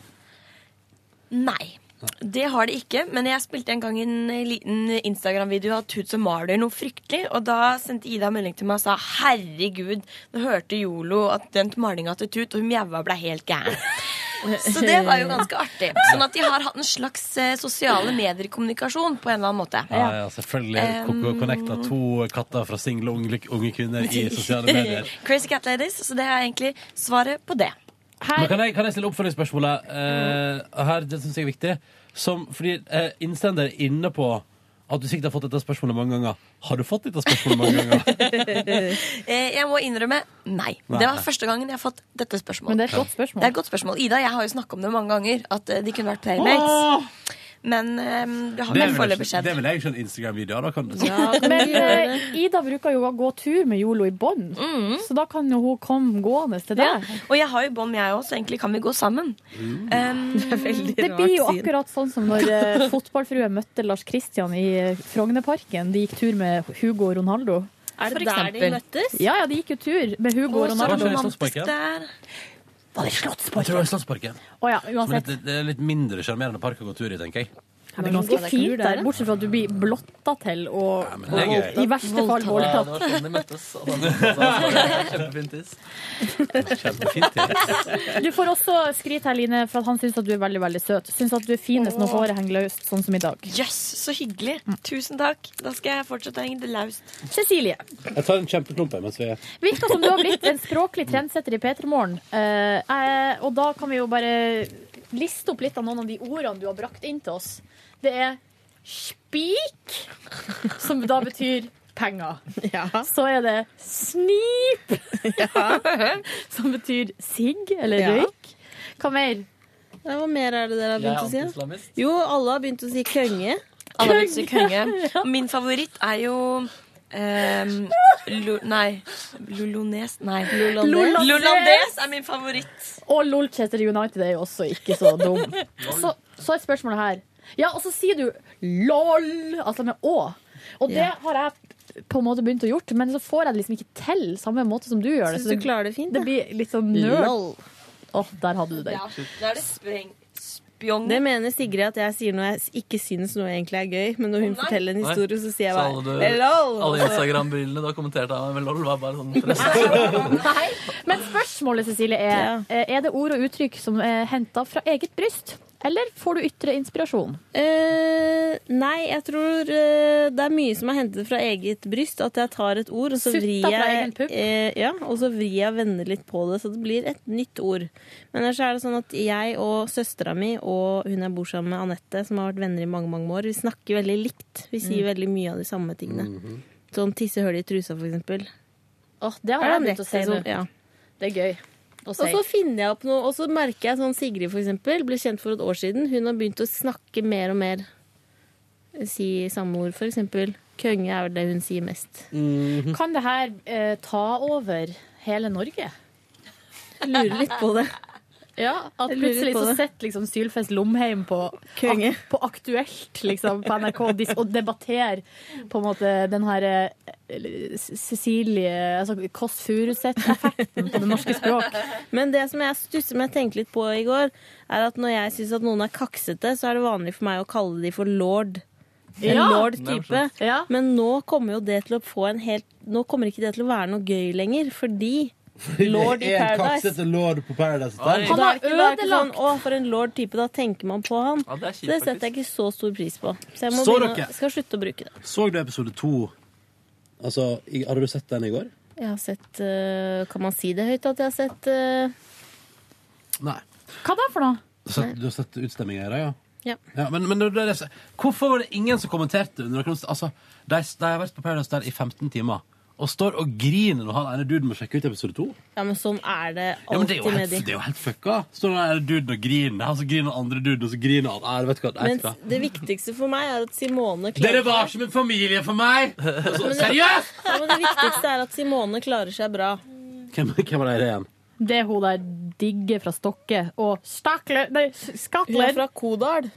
Nei. Det har det ikke, men jeg spilte en gang en eh, liten Instagram-video av Tut som maler noe fryktelig, og da sendte Ida en melding til meg og sa 'herregud', nå hørte Yolo at den malinga til Tut, og hun mjaua ble helt gæren. Så det var jo ganske artig. Sånn at de har hatt en slags eh, sosiale medier-kommunikasjon på en eller annen måte. Ja, ja, selvfølgelig. Um, Um, Connecta to katter fra single unge, unge kvinner i sosiale medier. Crazy Cat Ladies, så det er egentlig svaret på det. Men kan jeg, kan jeg stille oppfølgingsspørsmålet? Eh, her, det synes jeg er viktig. Som, fordi eh, innsender er inne på at du sikkert har fått dette spørsmålet mange ganger. Har du fått dette spørsmålet mange ganger? Eh, jeg må innrømme nei. Nei. Det var første gangen jeg har fått dette spørsmålet. Men det er et godt spørsmål. Det er et godt spørsmål. Ida, jeg har jo snakka om det mange ganger, at eh, de kunne vært playmates. Men um, det Det har vel vil jeg foreløpig ikke- skjedd. det vil jeg ikke en Instagram-video av. da, kan du si. Men eh, Ida bruker jo å gå tur med Yolo i bånd, så da kan jo hun komme gående til Ja. deg. Og jeg har jo bånd, jeg òg, så egentlig kan vi gå sammen. Mm. Ehm, det er veldig Det blir jo akkurat sånn som når eh, fotballfrue møtte Lars Kristian i eh, Frognerparken. De gikk tur med Hugo og Ronaldo. Er For det der de eksempel. møttes? Ja, ja, de gikk jo tur med Hugo og Ronaldo. Var det Slottsparken? Jeg tror det var Slottsparken. Å ja, Som er uansett. litt, det er litt mindre sjarmerende park å gå tur i, tenker jeg. Ja, Det er ganske fint der, bortsett fra at du blir blotta til og, det er og gøy. i verste fall Ja, det var voldtatt. sånn de møttes. og da- da- Kjempefint tiss. Du får også skryt her, Line, for at han syns at du er veldig veldig søt. Syns at du er finest når håret henger løst, sånn som i dag. Jøss, så hyggelig. Mm. Tusen takk. Da skal jeg fortsette å henge det løst. Cecilie, Jeg tar en kjempeklump her mens vi er virker som du har blitt en språklig trendsetter i P3 Morgen. Eh, eh, og da kan vi jo bare liste opp litt av noen av de ordene du har brakt inn til oss. Det er spik, som da betyr penger. Så er det snip, som betyr sigg eller Ja. røyk. Hva mer? Ja, Hva mer er det dere har Jeg er begynt å si? da? anti-islamist. Jo, alle har begynt å si kønge. Alle vil si konge. Og Min favoritt er jo ehm, lo, Nei. Lolones? Nei. Lollandes. Lollandes er min favoritt. Og Lolchester United er jo også ikke så dum. Så, så er spørsmålet her. Ja, og så sier du LOL, altså med Å. Og det Ja. har jeg på en måte begynt å gjort, men så får jeg det liksom ikke til samme måte som du gjør det. så Syns du klarer det fint, Det da? blir litt sånn nerd. Å, Lol. der hadde du det. Da er det spreng... Spjong. Det mener Sigrid at jeg sier noe jeg s- ikke syns noe egentlig er gøy, men når hun forteller en Nei. historie, så sier jeg alle, bare du- LOL. alle Instagram-brillene du har kommentert av meg med LOL, var bare sånn press. Men spørsmålet, Cecilie, er eh, Er det ord og uttrykk som er henta fra eget bryst? Eller får du ytre inspirasjon? Eh, nei, jeg tror eh, det er mye som er hentet fra eget bryst. At jeg tar et ord, og så Sutta vrir fra jeg, egen pupp? eh, ja, og så vrir jeg og vender litt på det, så det blir et nytt ord. Men ellers er det sånn at jeg og søstera mi og hun jeg bor sammen med, Anette, som har vært venner i mange mange år, vi snakker veldig likt. Vi sier Mm. veldig mye av de samme tingene. Sånn tissehull i trusa, for eksempel. Åh, det har Er jeg det begynt å si en nå. rekke som- ja. Det er gøy å si. Og så finner jeg opp noe, og så merker jeg sånn Sigrid for eksempel, ble kjent for et år siden. Hun har begynt å snakke mer og mer. Si samme ord, for eksempel. Kønge er vel det hun sier mest. Kan det her eh, ta over hele Norge? Jeg lurer litt på det. Ja, at Jeg lurer litt plutselig på så det. sitter liksom Sylfest Lomheim på, Konge. ak på Aktuelt liksom, på NRK og dis- og debatterer på en måte den her eh, Cecilie altså Kåss Furuseth-effekten på det norske språk. Men det som jeg stusser med, tenkte litt på i går, er at når jeg syns at noen er kaksete, så er det vanlig for meg å kalle de for lord. En Ja. lord-type. Det er sant. Men nå kommer jo det til å få en helt Nå kommer ikke det til å være noe gøy lenger, fordi lord i Det er en Paradise kaksete lord på Paradise Hotel. Han har ødelagt sånn, Å, for en lord type, da tenker man på han. Ja, det er kjipt, Så det setter jeg ikke så stor pris på. Så jeg må Så begynne, dere? skal slutte å bruke det. Så du episode to? Altså, i- hadde du sett den i går? Jeg har sett øh, Kan man si det høyt at jeg har sett øh, Nei. Hva da for noe? Du har sett, du har sett utstemminga i dag, ja? Ja. ja men, men det, er det, jeg sier. hvorfor var det ingen som kommenterte? Under noen, altså, de, de har vært på Paradise der i 15 timer og står og griner når han ene duden må sjekke ut episode to. Ja, men sånn er det Ja, men det er alltid jo med helt, de. det er jo helt fucka. Står den ene duden og griner, han så griner den andre duden, og så griner han. Nei, vet du hva, nei, Men vet du hva. det viktigste for meg er at Simone Dere klarer var som en familie for meg! Og så, Men det- Seriøst! Ja, men det viktigste er at Simone klarer seg bra. Hvem, hvem var det igjen? Det er hun der digge fra Stokke og Stakler Nei, Skakler. Hun er fra Kodal.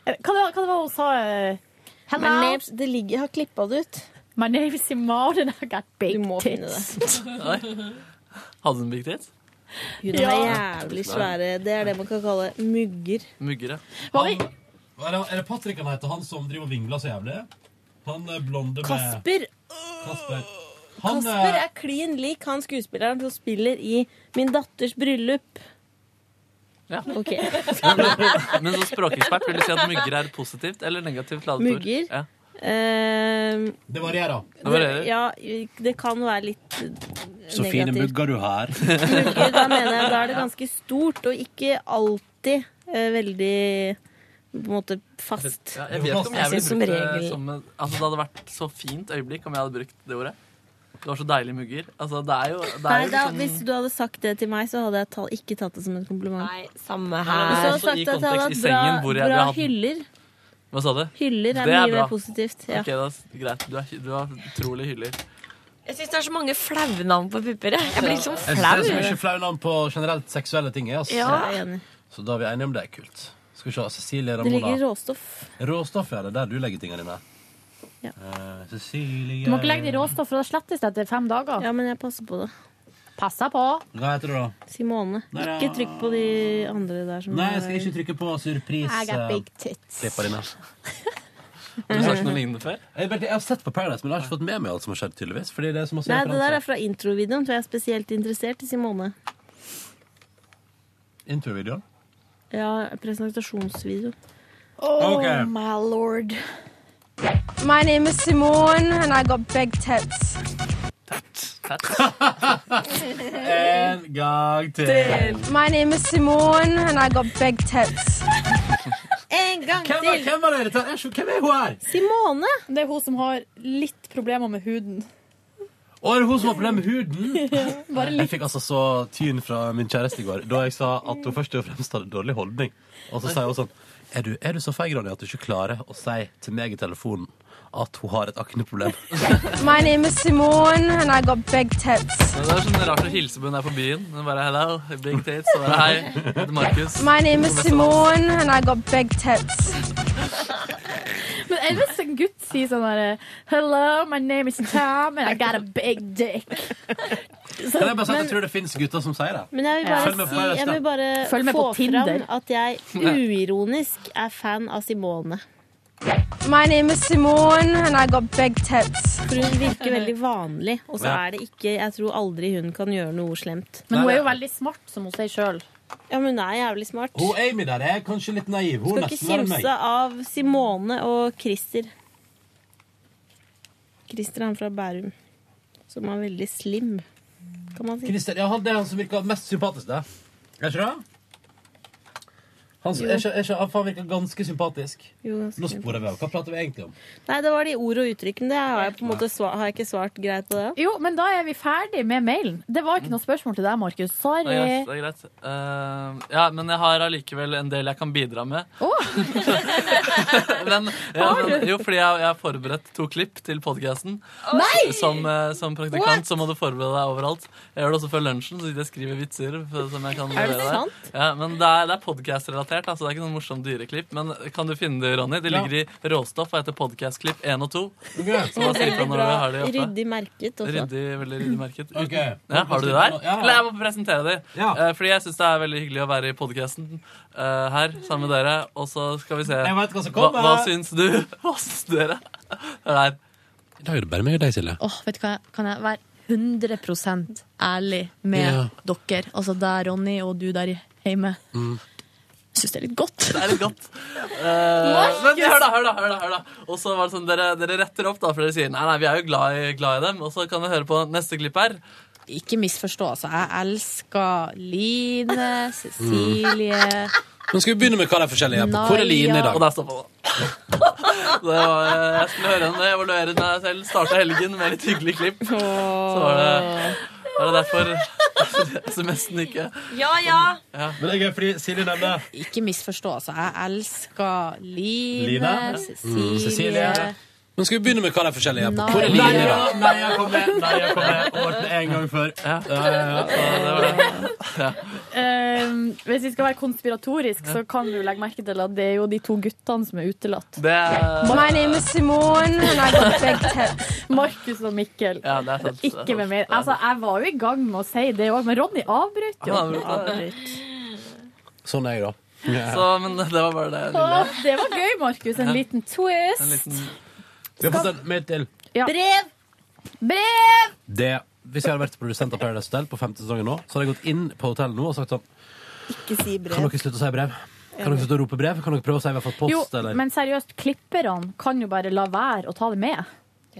Hva, det- hva det var hun sa? eh, Men Nebs, det ligger, jeg har klippa det ut. My name is Simone and I got big tits. Nei. Hadde hun big tits? Hun har jævlig svære Det er det man kan kalle mugger. Mugger, ja. Han, er, det, er det Patrick han heter, han som driver og vingler så jævlig? Han eh, blonde med Kasper. Kasper. Han, Kasper eh, er klin lik han skuespilleren som spiller i Min datters bryllup. Ja. Ok. Men som språkekspert vil du si at mugger er positivt eller negativt ladet ord? Mugger? Ja. Ehm, Det varierer. Det varierer. Ja, det kan være litt Så fine negativt. mugger du har. Mugger, da mener jeg da er det ganske stort, og ikke alltid eh, veldig på en måte fast. Ja, jeg vet ikke om jeg ville synes brukt det som en, altså, Det hadde vært så fint øyeblikk om jeg hadde brukt det ordet. Det var så deilig mugger. Altså, det er jo, det er Nei, jo da, liksom- Hvis du hadde sagt det til meg, så hadde jeg ta, ikke tatt det som en kompliment. Nei, samme her. Hvis du Også hadde altså, i sagt at jeg hadde kontekst i hatt sengen hvor jeg- bra, vi bra hadde- hyller Hva sa du? Hyller Det er mye bra. mer positivt, ja. Ok, da, s- greit. Du er, hy- du er utrolig hyller. Jeg syns det er så mange flaue navn på pupper. jeg. Jeg blir litt sånn Jeg synes det er så flau. mye flau navn på generelt seksuelle ting. jeg, Altså. Ja. Jeg er enig. Så da er vi enige om det er kult. Skal vi se, Cecilie Det ligger Ramona. råstoff. Råstoff, ja. Det er der du legger tingene dine. Ja. Eh, Cecilie Du må ikke legge det i råstoff, for da slettes det etter fem dager. Ja, men jeg passer på det. Passer på. Hva heter du, da? Simone. Nei, ja. Ikke trykk på de andre der som Nei, jeg skal ikke trykke på surpris. I got big tits. Klippa dine. Har du sagt noe lignende før? Jeg, vet- jeg har sett på Paradise, men jeg har ikke fått med meg alt som har skjedd, tydeligvis. Fordi det er så masse Nei, det der referanser. er fra introvideoen, for jeg er spesielt interessert i Simone. Intervideoen. Ja, presentasjonsvideo. Oh, Ok. my lord. My name is Simone, and I got big tits. En gang til. My name is Simone, and I got big tits. En gang Hvem er, hvem er det? dette her? Hvem er hun her? Simone! Det er hun som har litt problemer med huden. Å, er det hun som har problemer med huden? Bare Jeg fikk altså så tyn fra min kjæreste i går da jeg sa at hun først og fremst hadde dårlig holdning. Og så sa jeg også sånn er du, er du så feig, Ronny, at du ikke klarer å si til meg i telefonen at hun har et akneproblem? My name is Simone, and I got big tits. Men det er sånn rart å hilse på henne her på byen. Hun bare hello, big tits. Og bare, hei, jeg heter Markus. My name is På Simone, and I got big tits. Men er det hvis en gutt sier sånn der Hello, my name is Tom, and I got a big dick. Kan jeg bare si at jeg tror det fins gutter som sier det? Men jeg vil bare, Følg med på si, jeg resten. vil bare Følg med på få Tinder. fram at jeg uironisk er fan av Simone. My name is Simone, and I got big tits. For hun virker veldig vanlig, og så Ja. er det ikke Jeg tror aldri hun kan gjøre noe slemt. Men hun er jo veldig smart, som hun sier sjøl. Ja, men hun er jævlig smart. Hun Amy der er kanskje litt naiv. Hun Skal er ikke nesten verre enn meg. kimse av Simone og Christer. Christer er han fra Bærum, som er veldig slim, kan man si. Christer, ja, han, det er han som virker mest sympatisk, det. Er ikke det? Han, som- Jo. er ikke, er ikke, han virker ganske sympatisk. Jo, ganske Nå sporer vi av. Hva prater vi egentlig om? Nei, det var de ord og uttrykkene. Det har jeg på en måte svar, har jeg ikke svart greit på det. Jo, men da er vi ferdig med mailen. Det var ikke noe spørsmål til deg, Markus. Det er greit. Sorry. det er greit. Eh, ja, men jeg har allikevel en del jeg kan bidra med. men, ja, Har men, du? jo, fordi jeg jeg har forberedt to klipp til podkasten. Nei! Som, eh, som praktikant What? så må du forberede deg overalt. Jeg gjør det også før lunsjen, så sitter jeg og skriver vitser. for- Som jeg kan Er det levere. sant? Ja, men det er, det er podkast-relatert, altså det er ikke noen morsomt dyreklipp. Men kan du finne det, Ronny? Det Ja. ligger i Råstoff og heter Podkastklipp 1 og 2. Så bare si fra Veldig når du bra. har de oppe. Ryddig merket også. Ryddig, veldig ryddig merket. Ok. Ja, har du det der? Ja. Eller jeg må presentere det. Eh, fordi jeg syns det er veldig hyggelig å være i podkasten her sammen med dere. Og så skal vi se Jeg vet hva som hva, kommer. hva syns du? Hva syns dere? Hør her. I dag er det bare meg og deg, Silje. Åh, vet du hva, kan jeg være 100 ærlig med Ja. dere? Altså deg, Ronny, og du der hjemme. Jeg syns det er litt godt. Det er litt godt. Eh, Markus! men hør da, hør da, hør da, hør da. Og så var det sånn, dere, dere retter opp, da, for dere sier nei, nei, vi er jo glad i, glad i dem. Og så kan dere høre på neste klipp her. Ikke misforstå, altså. Jeg elsker Line, Cecilie Men skal vi begynne med hva de forskjellige er på? Hvor er Line i dag? Og der stoppa det. det var, eh, jeg skulle høre henne evaluere meg selv. Starta helgen med litt hyggelig klipp. Så var det, var det derfor SMS-en ikke Ja, ja. Men jeg er fordi Silje nevner Ikke misforstå, altså. Jeg elsker Line, Line. Mm, Cecilie, Cecilie. Men skal vi begynne med hva de forskjellige er på? Nei. Hvor er Nei, linjene? ja, nei, jeg kom med. Nei, jeg kom med. Og ble en gang før. Eh, hvis vi skal være konspiratorisk, så kan du legge merke til at det er jo de to guttene som er utelatt. Det er- My name is Simone, and I got big tits. Markus og Mikkel. Ja, det er sant. det er Ikke med mer. Altså, jeg var jo i gang med å si det òg, men Ronny avbrøt jo. Han avbrøt. Sånn er jeg, da. sant. Så, men det var bare det lille. Å, det var gøy, Markus. En liten twist. En liten Vi har fått en mail til. Brev! Brev! Det, hvis jeg hadde vært produsent av Paradise Hotel på femte sesongen nå, så hadde jeg gått inn på hotellet nå og sagt sånn Ikke si Kan dere slutte å si brev? Kan dere slutte å rope brev? Kan dere prøve å si vi har fått post? Jo, eller? men seriøst, klipperne kan jo bare la være å ta det med.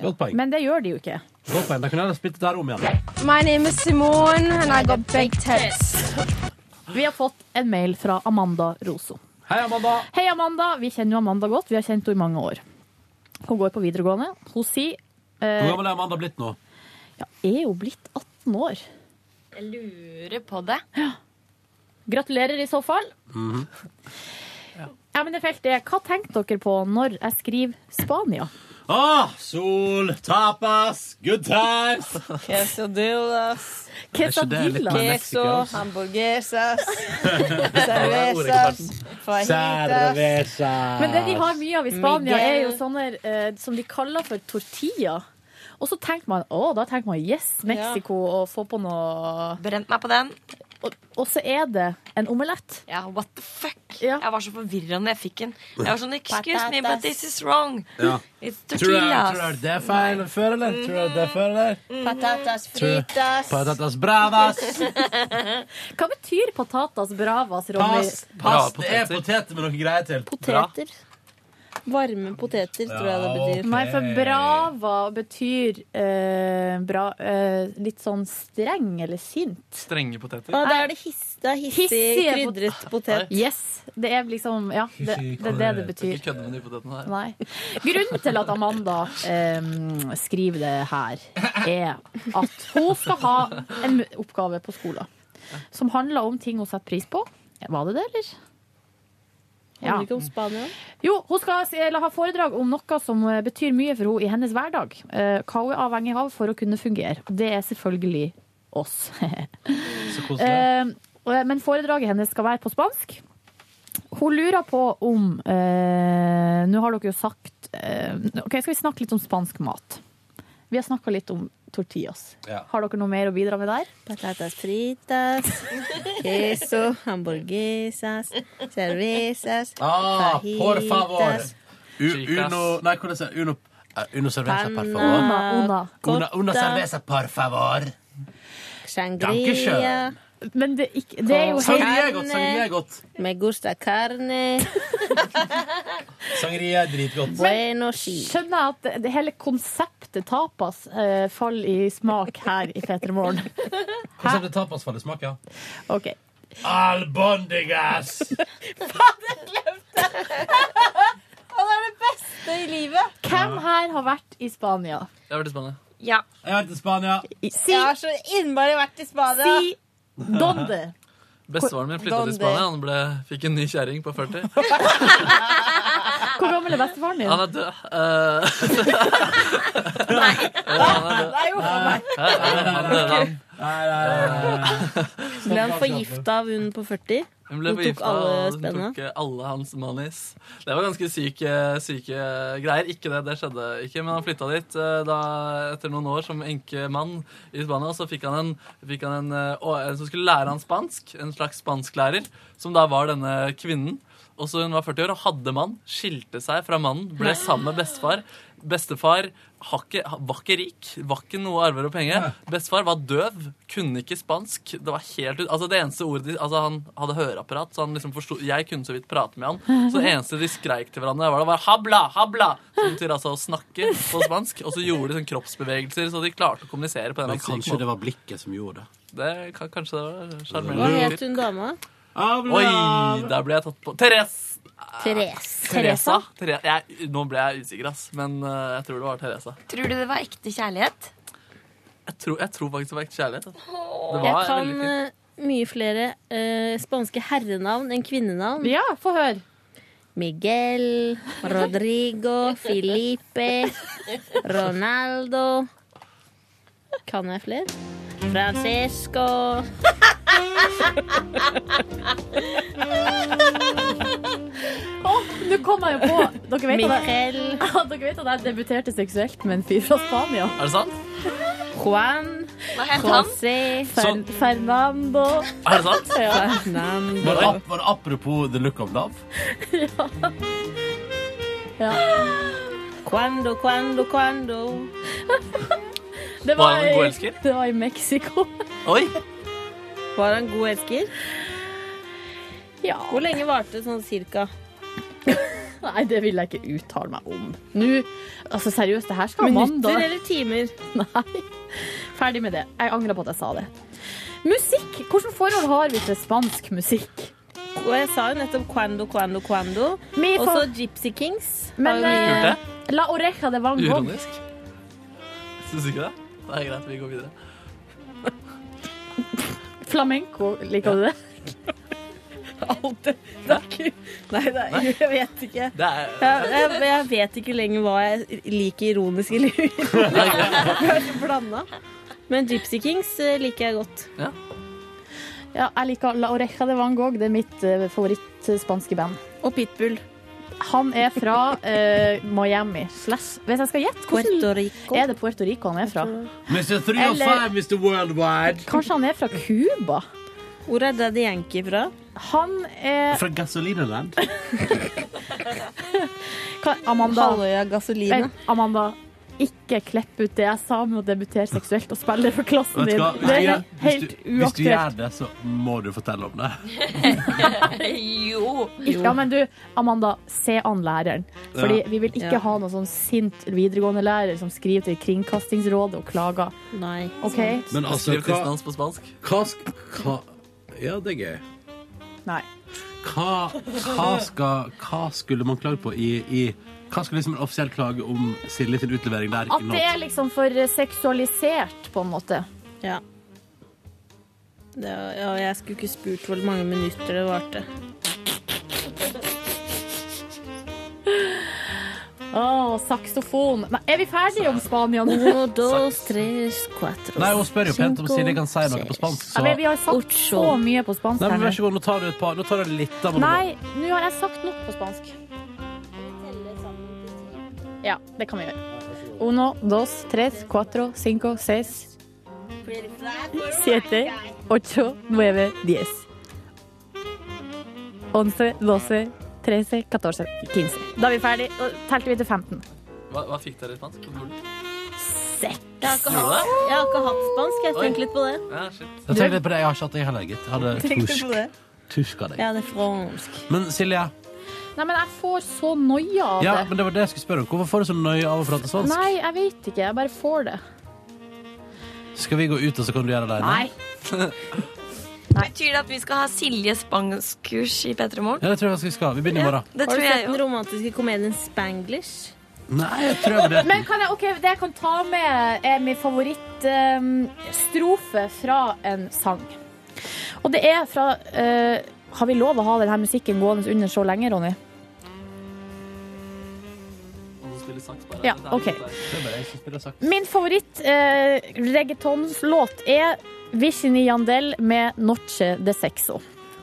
Godt poeng. Men det gjør de jo ikke. Godt poeng. Da kunne jeg ha spilt det der om igjen. My name is Simone, and I got big tits. Vi har fått en mail fra Amanda Roso. Hei, Amanda. Hei, Amanda. Vi kjenner jo Amanda godt. Vi har kjent henne i mange år. Hun går på videregående. Hun sier eh, Hvor gammel er Amanda blitt nå? er jo blitt 18 år. Jeg lurer på det. Gratulerer i så fall. Mhm. Ja, men det feltet er, Hva tenkte dere på når jeg skriver Spania? Ah, sol, tapas, good times! Quesadillas. Quesadilla. Queso, hamburguesas, cervezas, fajitas. Men det de har mye av i Spania, er jo sånne eh, som de kaller for tortilla. Og så tenker man å, da tenker man yes, Mexico, og få på noe Brent meg på den. Og, og så er det en omelett. Ja, what the fuck? Jeg var så forvirra når jeg fikk den. Jeg var sånn Excuse me, Patatas. but this is wrong. Ja. It's Tror du tortillas. tror du det er feil før, eller? Tror du det er før, eller? Patatas Tror du- Mm-hmm. Patatas bravas. Hva betyr patatas bravas, Ronny? Pass, pass. Det er poteter med noe greier til. Bra. Poteter. Varme poteter, tror jeg det Ja, betyr. ok. Nei, for brava betyr eh, bra, eh, litt sånn streng eller sint. Strenge poteter. Ja, da er det hiss- det er hissig, krydret potet. Yes. Det er liksom Ja, det, det er det det betyr. Ikke kødde med de potetene her. Nei. Grunnen til at Amanda eh, skriver det her, er at hun skal ha en oppgave på skolen som handler om ting hun setter pris på. Var det det, eller? Handler ikke om Spania? Jo, hun skal s- eller ha foredrag om noe som eh, betyr mye for henne i hennes hverdag. Eh, Hva hun er avhengig av for å kunne fungere. Og Det er selvfølgelig oss. Så Eh, og- Men foredraget hennes skal være på spansk. Hun lurer på om eh, Nå har dere jo sagt eh, Ok, skal vi snakke litt om spansk mat? Vi har snakka litt om tortillas. Ja. Har dere noe mer å bidra med der? Patatas fritas, queso, hamburguesas, cervezas, Ah, por favor. fajitas, U uno Nei, hvordan sier uno, eh, uno cerveza, por favor. Panna Una, una. Una, una cerveza, por favor. sangria. Dankeschön. Men det, er ikke, det er jo Sangria er helt- godt, sangria er godt. Me gusta carne. Sangria er dritgodt. Bueno, Skjønner jeg at det- det hele konseptet tapas eh, faller i smak her i P3 Morgen. Hvordan er det tapasfallet smaker? Ok. Albondigas! Og det er det beste i livet. Hvem her har vært i Spania? Det har vært spennende. Ja. Jeg har vært i Spania. Jeg har så innmari vært i Spania. Si donde. Bestefaren min flytta til Donde. Spania. Han ble, fikk en ny kjerring på 40. Hvor gammel er bestefaren din? Han er død. Eh, Jo, han er død. Nei, jo, faen meg. Hæ? Han døde, han. Eh, Ble han forgifta av hun på 40? Hun ble tok forgifta, alle og hun spennene. tok eh, alle hans manis. Det var ganske syke, syke greier. Ikke det, det skjedde ikke, men han flytta dit eh, da, etter noen år som enkemann i Spania. Og så fikk han, en, fikk han en, eh, å- en som skulle lære han spansk, en slags spansklærer, som da var denne kvinnen. Og så Hun var 40 år og hadde mann, skilte seg fra mannen, ble sammen med bestefar. Bestefar har ikke- var ikke rik, var ikke noe arver og penger. Bestefar var døv, kunne ikke spansk. Det var helt ut, altså det eneste ordet de, altså Han hadde høreapparat, så han liksom forsto, jeg kunne så vidt prate med han. Så det eneste de skreik til hverandre, var, det var 'habla, habla', som betyr altså å snakke på spansk. Og så gjorde de sånn kroppsbevegelser, så de klarte å kommunisere på den Men kanskje det var blikket som gjorde det. det kan, Kanskje det var sjarmerende. Hva het hun dama? Oi, der ble jeg tatt på Therese! Therese. Teresa? Therese. Jeg, nå ble jeg usikker, ass. Men eh, jeg tror det var Teresa. Tror du det var ekte kjærlighet? Jeg tror, jeg tror faktisk det var ekte kjærlighet. ass. Det Jeg var kan veldig fint. eh, mye flere eh, spanske herrenavn enn kvinnenavn. Ja, få høre. Miguel, Rodrigo, Felipe, Ronaldo Kan jeg flere? Francesco Åh, nå kom jeg jo på Dere vet, at jeg, Miguel. ja, dere vet at jeg debuterte seksuelt med en fyr fra Spania. Er det sant? Juan José Fer Fernando. Er det sant? Var det, ap- var det apropos the look of love? Quando, quando, quando Det Var han en god elsker? Det var i Mexico. Oi! Var han god elsker? Ja. Hvor lenge varte det sånn cirka? Nei, det vil jeg ikke uttale meg om. Nå, altså seriøst, det her skal Minutter mandag. eller timer? Nei. Ferdig med det. Jeg angrer på at jeg sa det. Musikk! Hvilket forhold har vi til spansk musikk? Og jeg sa jo nettopp quando, quando, quando. Mi Og fa- så Gypsy Kings. Men Har jo- eh, La Oreja de Van Gogh Uironisk. Syns du ikke det? Det er greit, vi går videre. Flamenco, liker du det? Alt det Nei, nei, nei, jeg vet ikke. Det er Jeg, jeg, jeg vet ikke lenger hva jeg liker ironisk eller uironisk. Blanda. Men Gypsy Kings eh, liker jeg godt. Ja. Ja, jeg liker La Oreja de Van Gogh. Det er mitt eh, favoritt-spanske band. Og Pitbull. Han er fra eh, Miami. Slash. Hvis jeg skal gjette, hvordan er det Puerto Rico han er fra? Mr. 305, Mr. Worldwide. Kanskje han er fra Cuba? Hvor er Daddy Yankee fra? Han er Fra Gasolinoland. Hva- Amanda. Halvøya Gasolina. Vent, Amanda. Ikke klipp ut det jeg sa med å debutere seksuelt og spille for klassen Vet du din. hva? Det er Hvis du- helt Hvis du gjør uaktuelt. det, så må du fortelle om det. Jo. Ja, men du, Amanda, se an læreren. Fordi Ja. vi vil ikke Ja. ha noen sånn sint videregående-lærer som skriver til Kringkastingsrådet og klager. Sånn. Nei. OK? Men altså, Skriv hva, tidsdans på spansk. hva, sk- hva Ja, det er gøy. Nei. Hva, hva, skal, hva skulle man klage på i, i Hva skulle liksom en offisiell klage om Silje sin utlevering der? At det er liksom for seksualisert, på en måte. Ja. Det, ja, jeg skulle ikke spurt hvor mange minutter det varte. Å, saksofon. Nei, er vi ferdige om Spania nå? Nei, hun spør jo pent om Silje kan si noe på spansk, så Ja, men vi har sagt så mye på spansk Nei, her men nå. Vær så god, nå tar du et par. Nå tar du litt av Nei, nå har jeg sagt nok på spansk. Ja, det kan vi gjøre. Uno, dos, tres, cuatro, cinco, seis, siete, ocho, nueve, diez. Once, doce, trece, catorce, quince. Da er vi ferdig. Og telte vi til 15. Hva, hva fikk dere i spansk? på skolen? Jeg har ikke hatt, jeg har ikke hatt spansk. Jeg tenkte litt på det. Ja, shit. Jeg tenkte litt på det. Jeg har ikke hatt det heller, gitt. Jeg hadde Tenkte du på tusk. det? Tuska deg. Ja, det er fransk. Men Silje, Nei, men jeg får så noia av ja, det. men det var det jeg skulle spørre om. Hvorfor får du så nøye av å prate sånn? spansk? Nei, jeg vet ikke. Jeg bare får det. Skal vi gå ut, og så kan du gjøre det Nei. alene? Betyr det at vi skal ha Silje spanskkurs i P3 Morgen? Ja, det tror jeg faktisk vi skal. Vi begynner i morgen. Det Har tror du jeg sett jo. den romantiske komedien Spanglish? Nei, jeg tror jeg vurderte Men kan jeg, ok, det jeg kan ta med, er min favorittstrofe fra en sang. Og det er fra eh, Har vi lov å ha denne musikken gående under så lenge, Ronny? Og så spiller saks bare. Ja, Det er ok. litt der. Det er bare jeg som spiller saks. Min favoritt-reggaetonslåt er Virginie Yandel med 'Noche de Sexo'.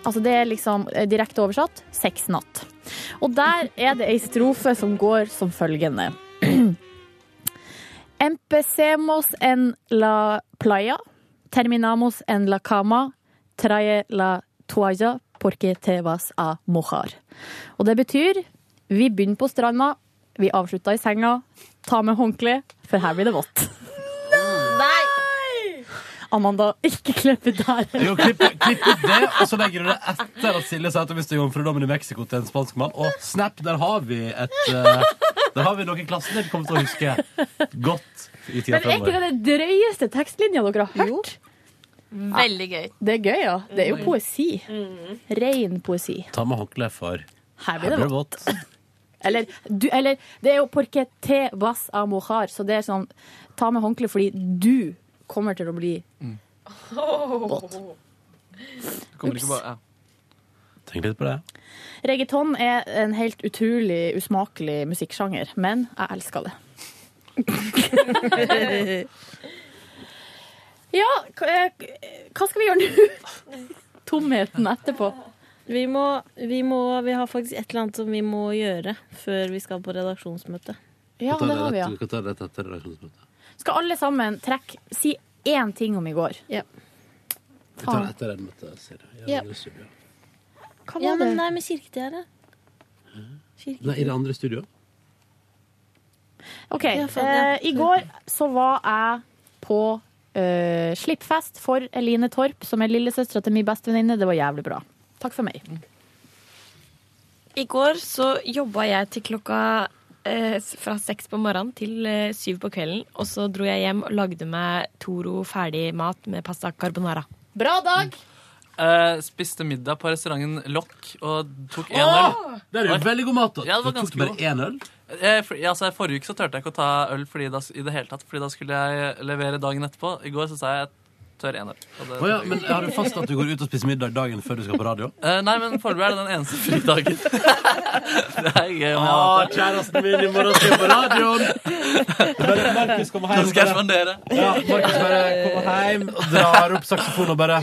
Altså Det er liksom eh, direkte oversatt sexnatt. Og der er det ei strofe som går som følgende. Empecemos en la playa, terminamos en la cama, trae la toalla porque te vas a mojar. Og det betyr vi begynner på stranda, vi avslutter i senga, ta med håndkle, for her blir det vått. Nei! Amanda, ikke klipp ut der. Jo, klipp, klipp ut det, og så legger du det etter at Silje sa at hun mistet jomfrudommen i Mexico til en spansk mann. Og snap, der har vi et eh, Der har vi noe i klassen dere kommer til å huske godt i tida Men er ikke det fremover. den drøyeste tekstlinja dere har hørt? Veldig gøy. Det er gøy, Mm. ja. Det er jo poesi. Ren poesi. Ta med håndkle, for Her blir det vått. Eller, du, eller det er jo porque te vas a mojar, så det er sånn ta med håndkle fordi du kommer til å bli Det kommer ikke bare, ja. Tenk litt på det. Reggaeton er en helt utrolig usmakelig musikksjanger, men jeg elsker det. ja, hva eh, hva skal vi gjøre nå? Tomheten etterpå. Vi må, vi må Vi har faktisk et eller annet som vi må gjøre før vi skal på redaksjonsmøte. Ja, det har vi, ja. Vi kan ta det etter redaksjonsmøtet. Skal alle sammen trekke Si én ting om i går. Vi tar det etter det møtet, sier jeg. I det Ja. andre studio. Hva ja, var men det? nei, med kirketjerdet. Nei, i det andre studioet. OK. Ja, faen, ja. eh, I går så var jeg på eh, slippfest for Eline Torp, som er lillesøstera til min bestevenninne. Det var jævlig bra. Takk for meg. I går så jobba jeg til klokka eh, s- fra seks på morgenen til eh, syv på kvelden. Og så dro jeg hjem og lagde meg Toro ferdig mat med pasta carbonara. Bra dag! Eh, spiste middag på restauranten Lokk og tok én Åh! øl. Det er jo Oi. veldig god mat. da. Ja, det var Du tok ganske bare god. én øl? Eh, for, ja, altså, forrige uke så turte jeg ikke å ta øl fordi da, i det hele tatt, fordi da skulle jeg levere dagen etterpå. I går så sa jeg jeg tør én øl. og det- Å ja, men har du fast at du går ut og spiser middag dagen før du skal på radio? Eh, nei, men foreløpig er det den eneste fridagen. det er gøy om jeg Å, har kjæresten min, i morgen skal jeg på radioen! Bare Markus kommer hjem. Da skal jeg spandere. Ja, Markus bare kommer hjem og drar opp saksofonen og bare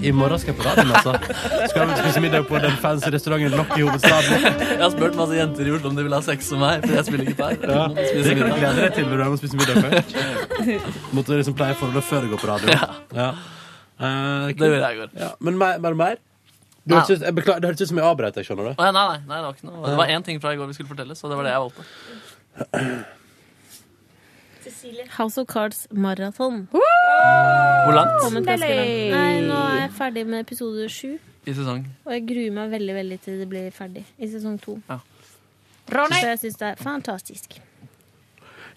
I morgen skal jeg på radioen, altså. Skal vi spise middag på den fancy restauranten Lokk i hovedstaden? Jeg har spurt masse jenter i Oslo om de vil ha sex som meg, for jeg spiller gitar. Ja, Noen det spiser kan du middag. glede deg til når du er med og spiser middag før. Måtte liksom pleie forholdet før du går på radio. Ja. Eh, Det gjorde jeg i går. Ja, men mer mer? mer? Du Ja. hørtes ut- jeg beklager, det hørtes ut som jeg avbrøt deg, skjønner du. Å, ja, nei, nei, nei, det var ikke noe. Det var én ting fra i går vi skulle fortelle, så det var det jeg valgte. House of Cards maraton. Hvor langt? Kommet ganske langt. Nei, nå er jeg ferdig med episode sju. I sesong. Og jeg gruer meg veldig veldig til det blir ferdig i sesong to. Ja. Så jeg syns det er fantastisk.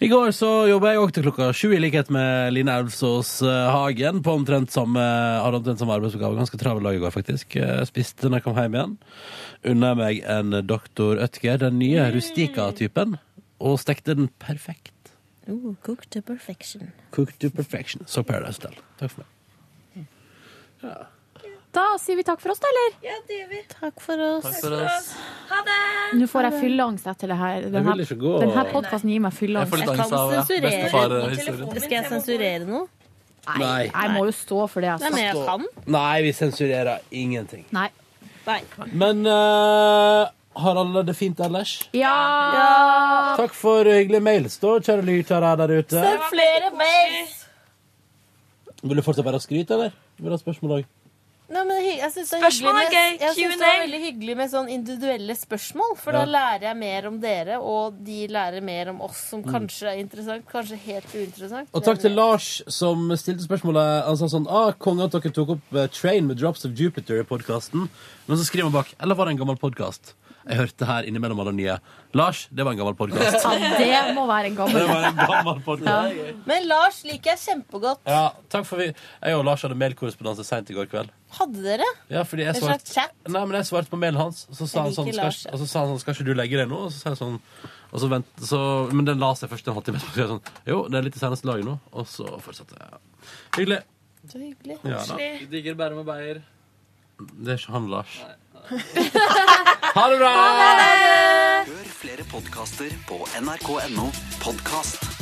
I går så jobba jeg òg til klokka sju, i likhet med Line Elvsås eh, Hagen. På omtrent samme, hadde omtrent samme arbeidsoppgave. Ganske travel dag i går, faktisk. Eh, Spiste når jeg kom hjem igjen. Unna meg en doktor Ødger, den nye Rustica-typen, og stekte den perfekt. Oh, cooked to perfection. Cooked to perfection. Så Paradise Hotel. Takk for meg. Da sier vi takk for oss, da, eller? Ja, det gjør vi. Takk for oss. Takk for oss. Ha det! Nå får jeg fylleangst etter det her. Jeg Denne, vil ikke gå. denne podkasten gir meg Jeg fylleangst. får litt angst av, ja, bestefar-historien. Skal jeg sensurere noe? Nei. Jeg må jo stå for det altså. jeg Nei, men jeg kan. Nei, vi sensurerer ingenting. Nei. Men eh, har alle det fint ellers? Ja! Takk for hyggelige mails, da, kjære lyttere der ute. Flere mails! Vil du fortsatt bare skryte, eller? Vil du ha spørsmål òg? Nei, men hy- jeg synes det er Spørsmål er hyggelig med- gøy. Jeg synes det er Q&A. veldig hyggelig med sånn individuelle spørsmål, for Ja. da lærer jeg mer om dere, og de lærer mer om oss, som kanskje er interessant, kanskje helt uinteressant. Mm. Og takk til Lars som stilte spørsmålet. Han sa sånn ah, 'Konge at dere tok opp eh, Train med Drops of Jupiter i podkasten.' Men så skriver han bak 'Eller var det en gammel podkast?' Jeg hørte her innimellom alle nye. Lars, det var en gammel podkast. Ja, det må være en Det gammel var en gammel podcast. Men Lars liker jeg kjempegodt. Ja, takk for vi Jeg og Lars hadde mailkorrespondanse seint i går kveld. Hadde dere? Ja, fordi En jeg svarte slags chat? Nei, men jeg svarte på mailen hans, og så sa Jeg han sånn, liker skal, Lars, ikke- og så sa han sånn Skal ikke du legge deg nå? Og så sa jeg sånn og så vent, så, Men den la seg først en halvtime etterpå. Så jeg sånn Jo, det er litt i seneste laget nå. Og så fortsatte jeg. Hyggelig. Så hyggelig. Ja, da. Vi digger Bærum og Beyer. Det er ikke han, Lars. Ha det bra! Hør flere podkaster på nrk.no podkast.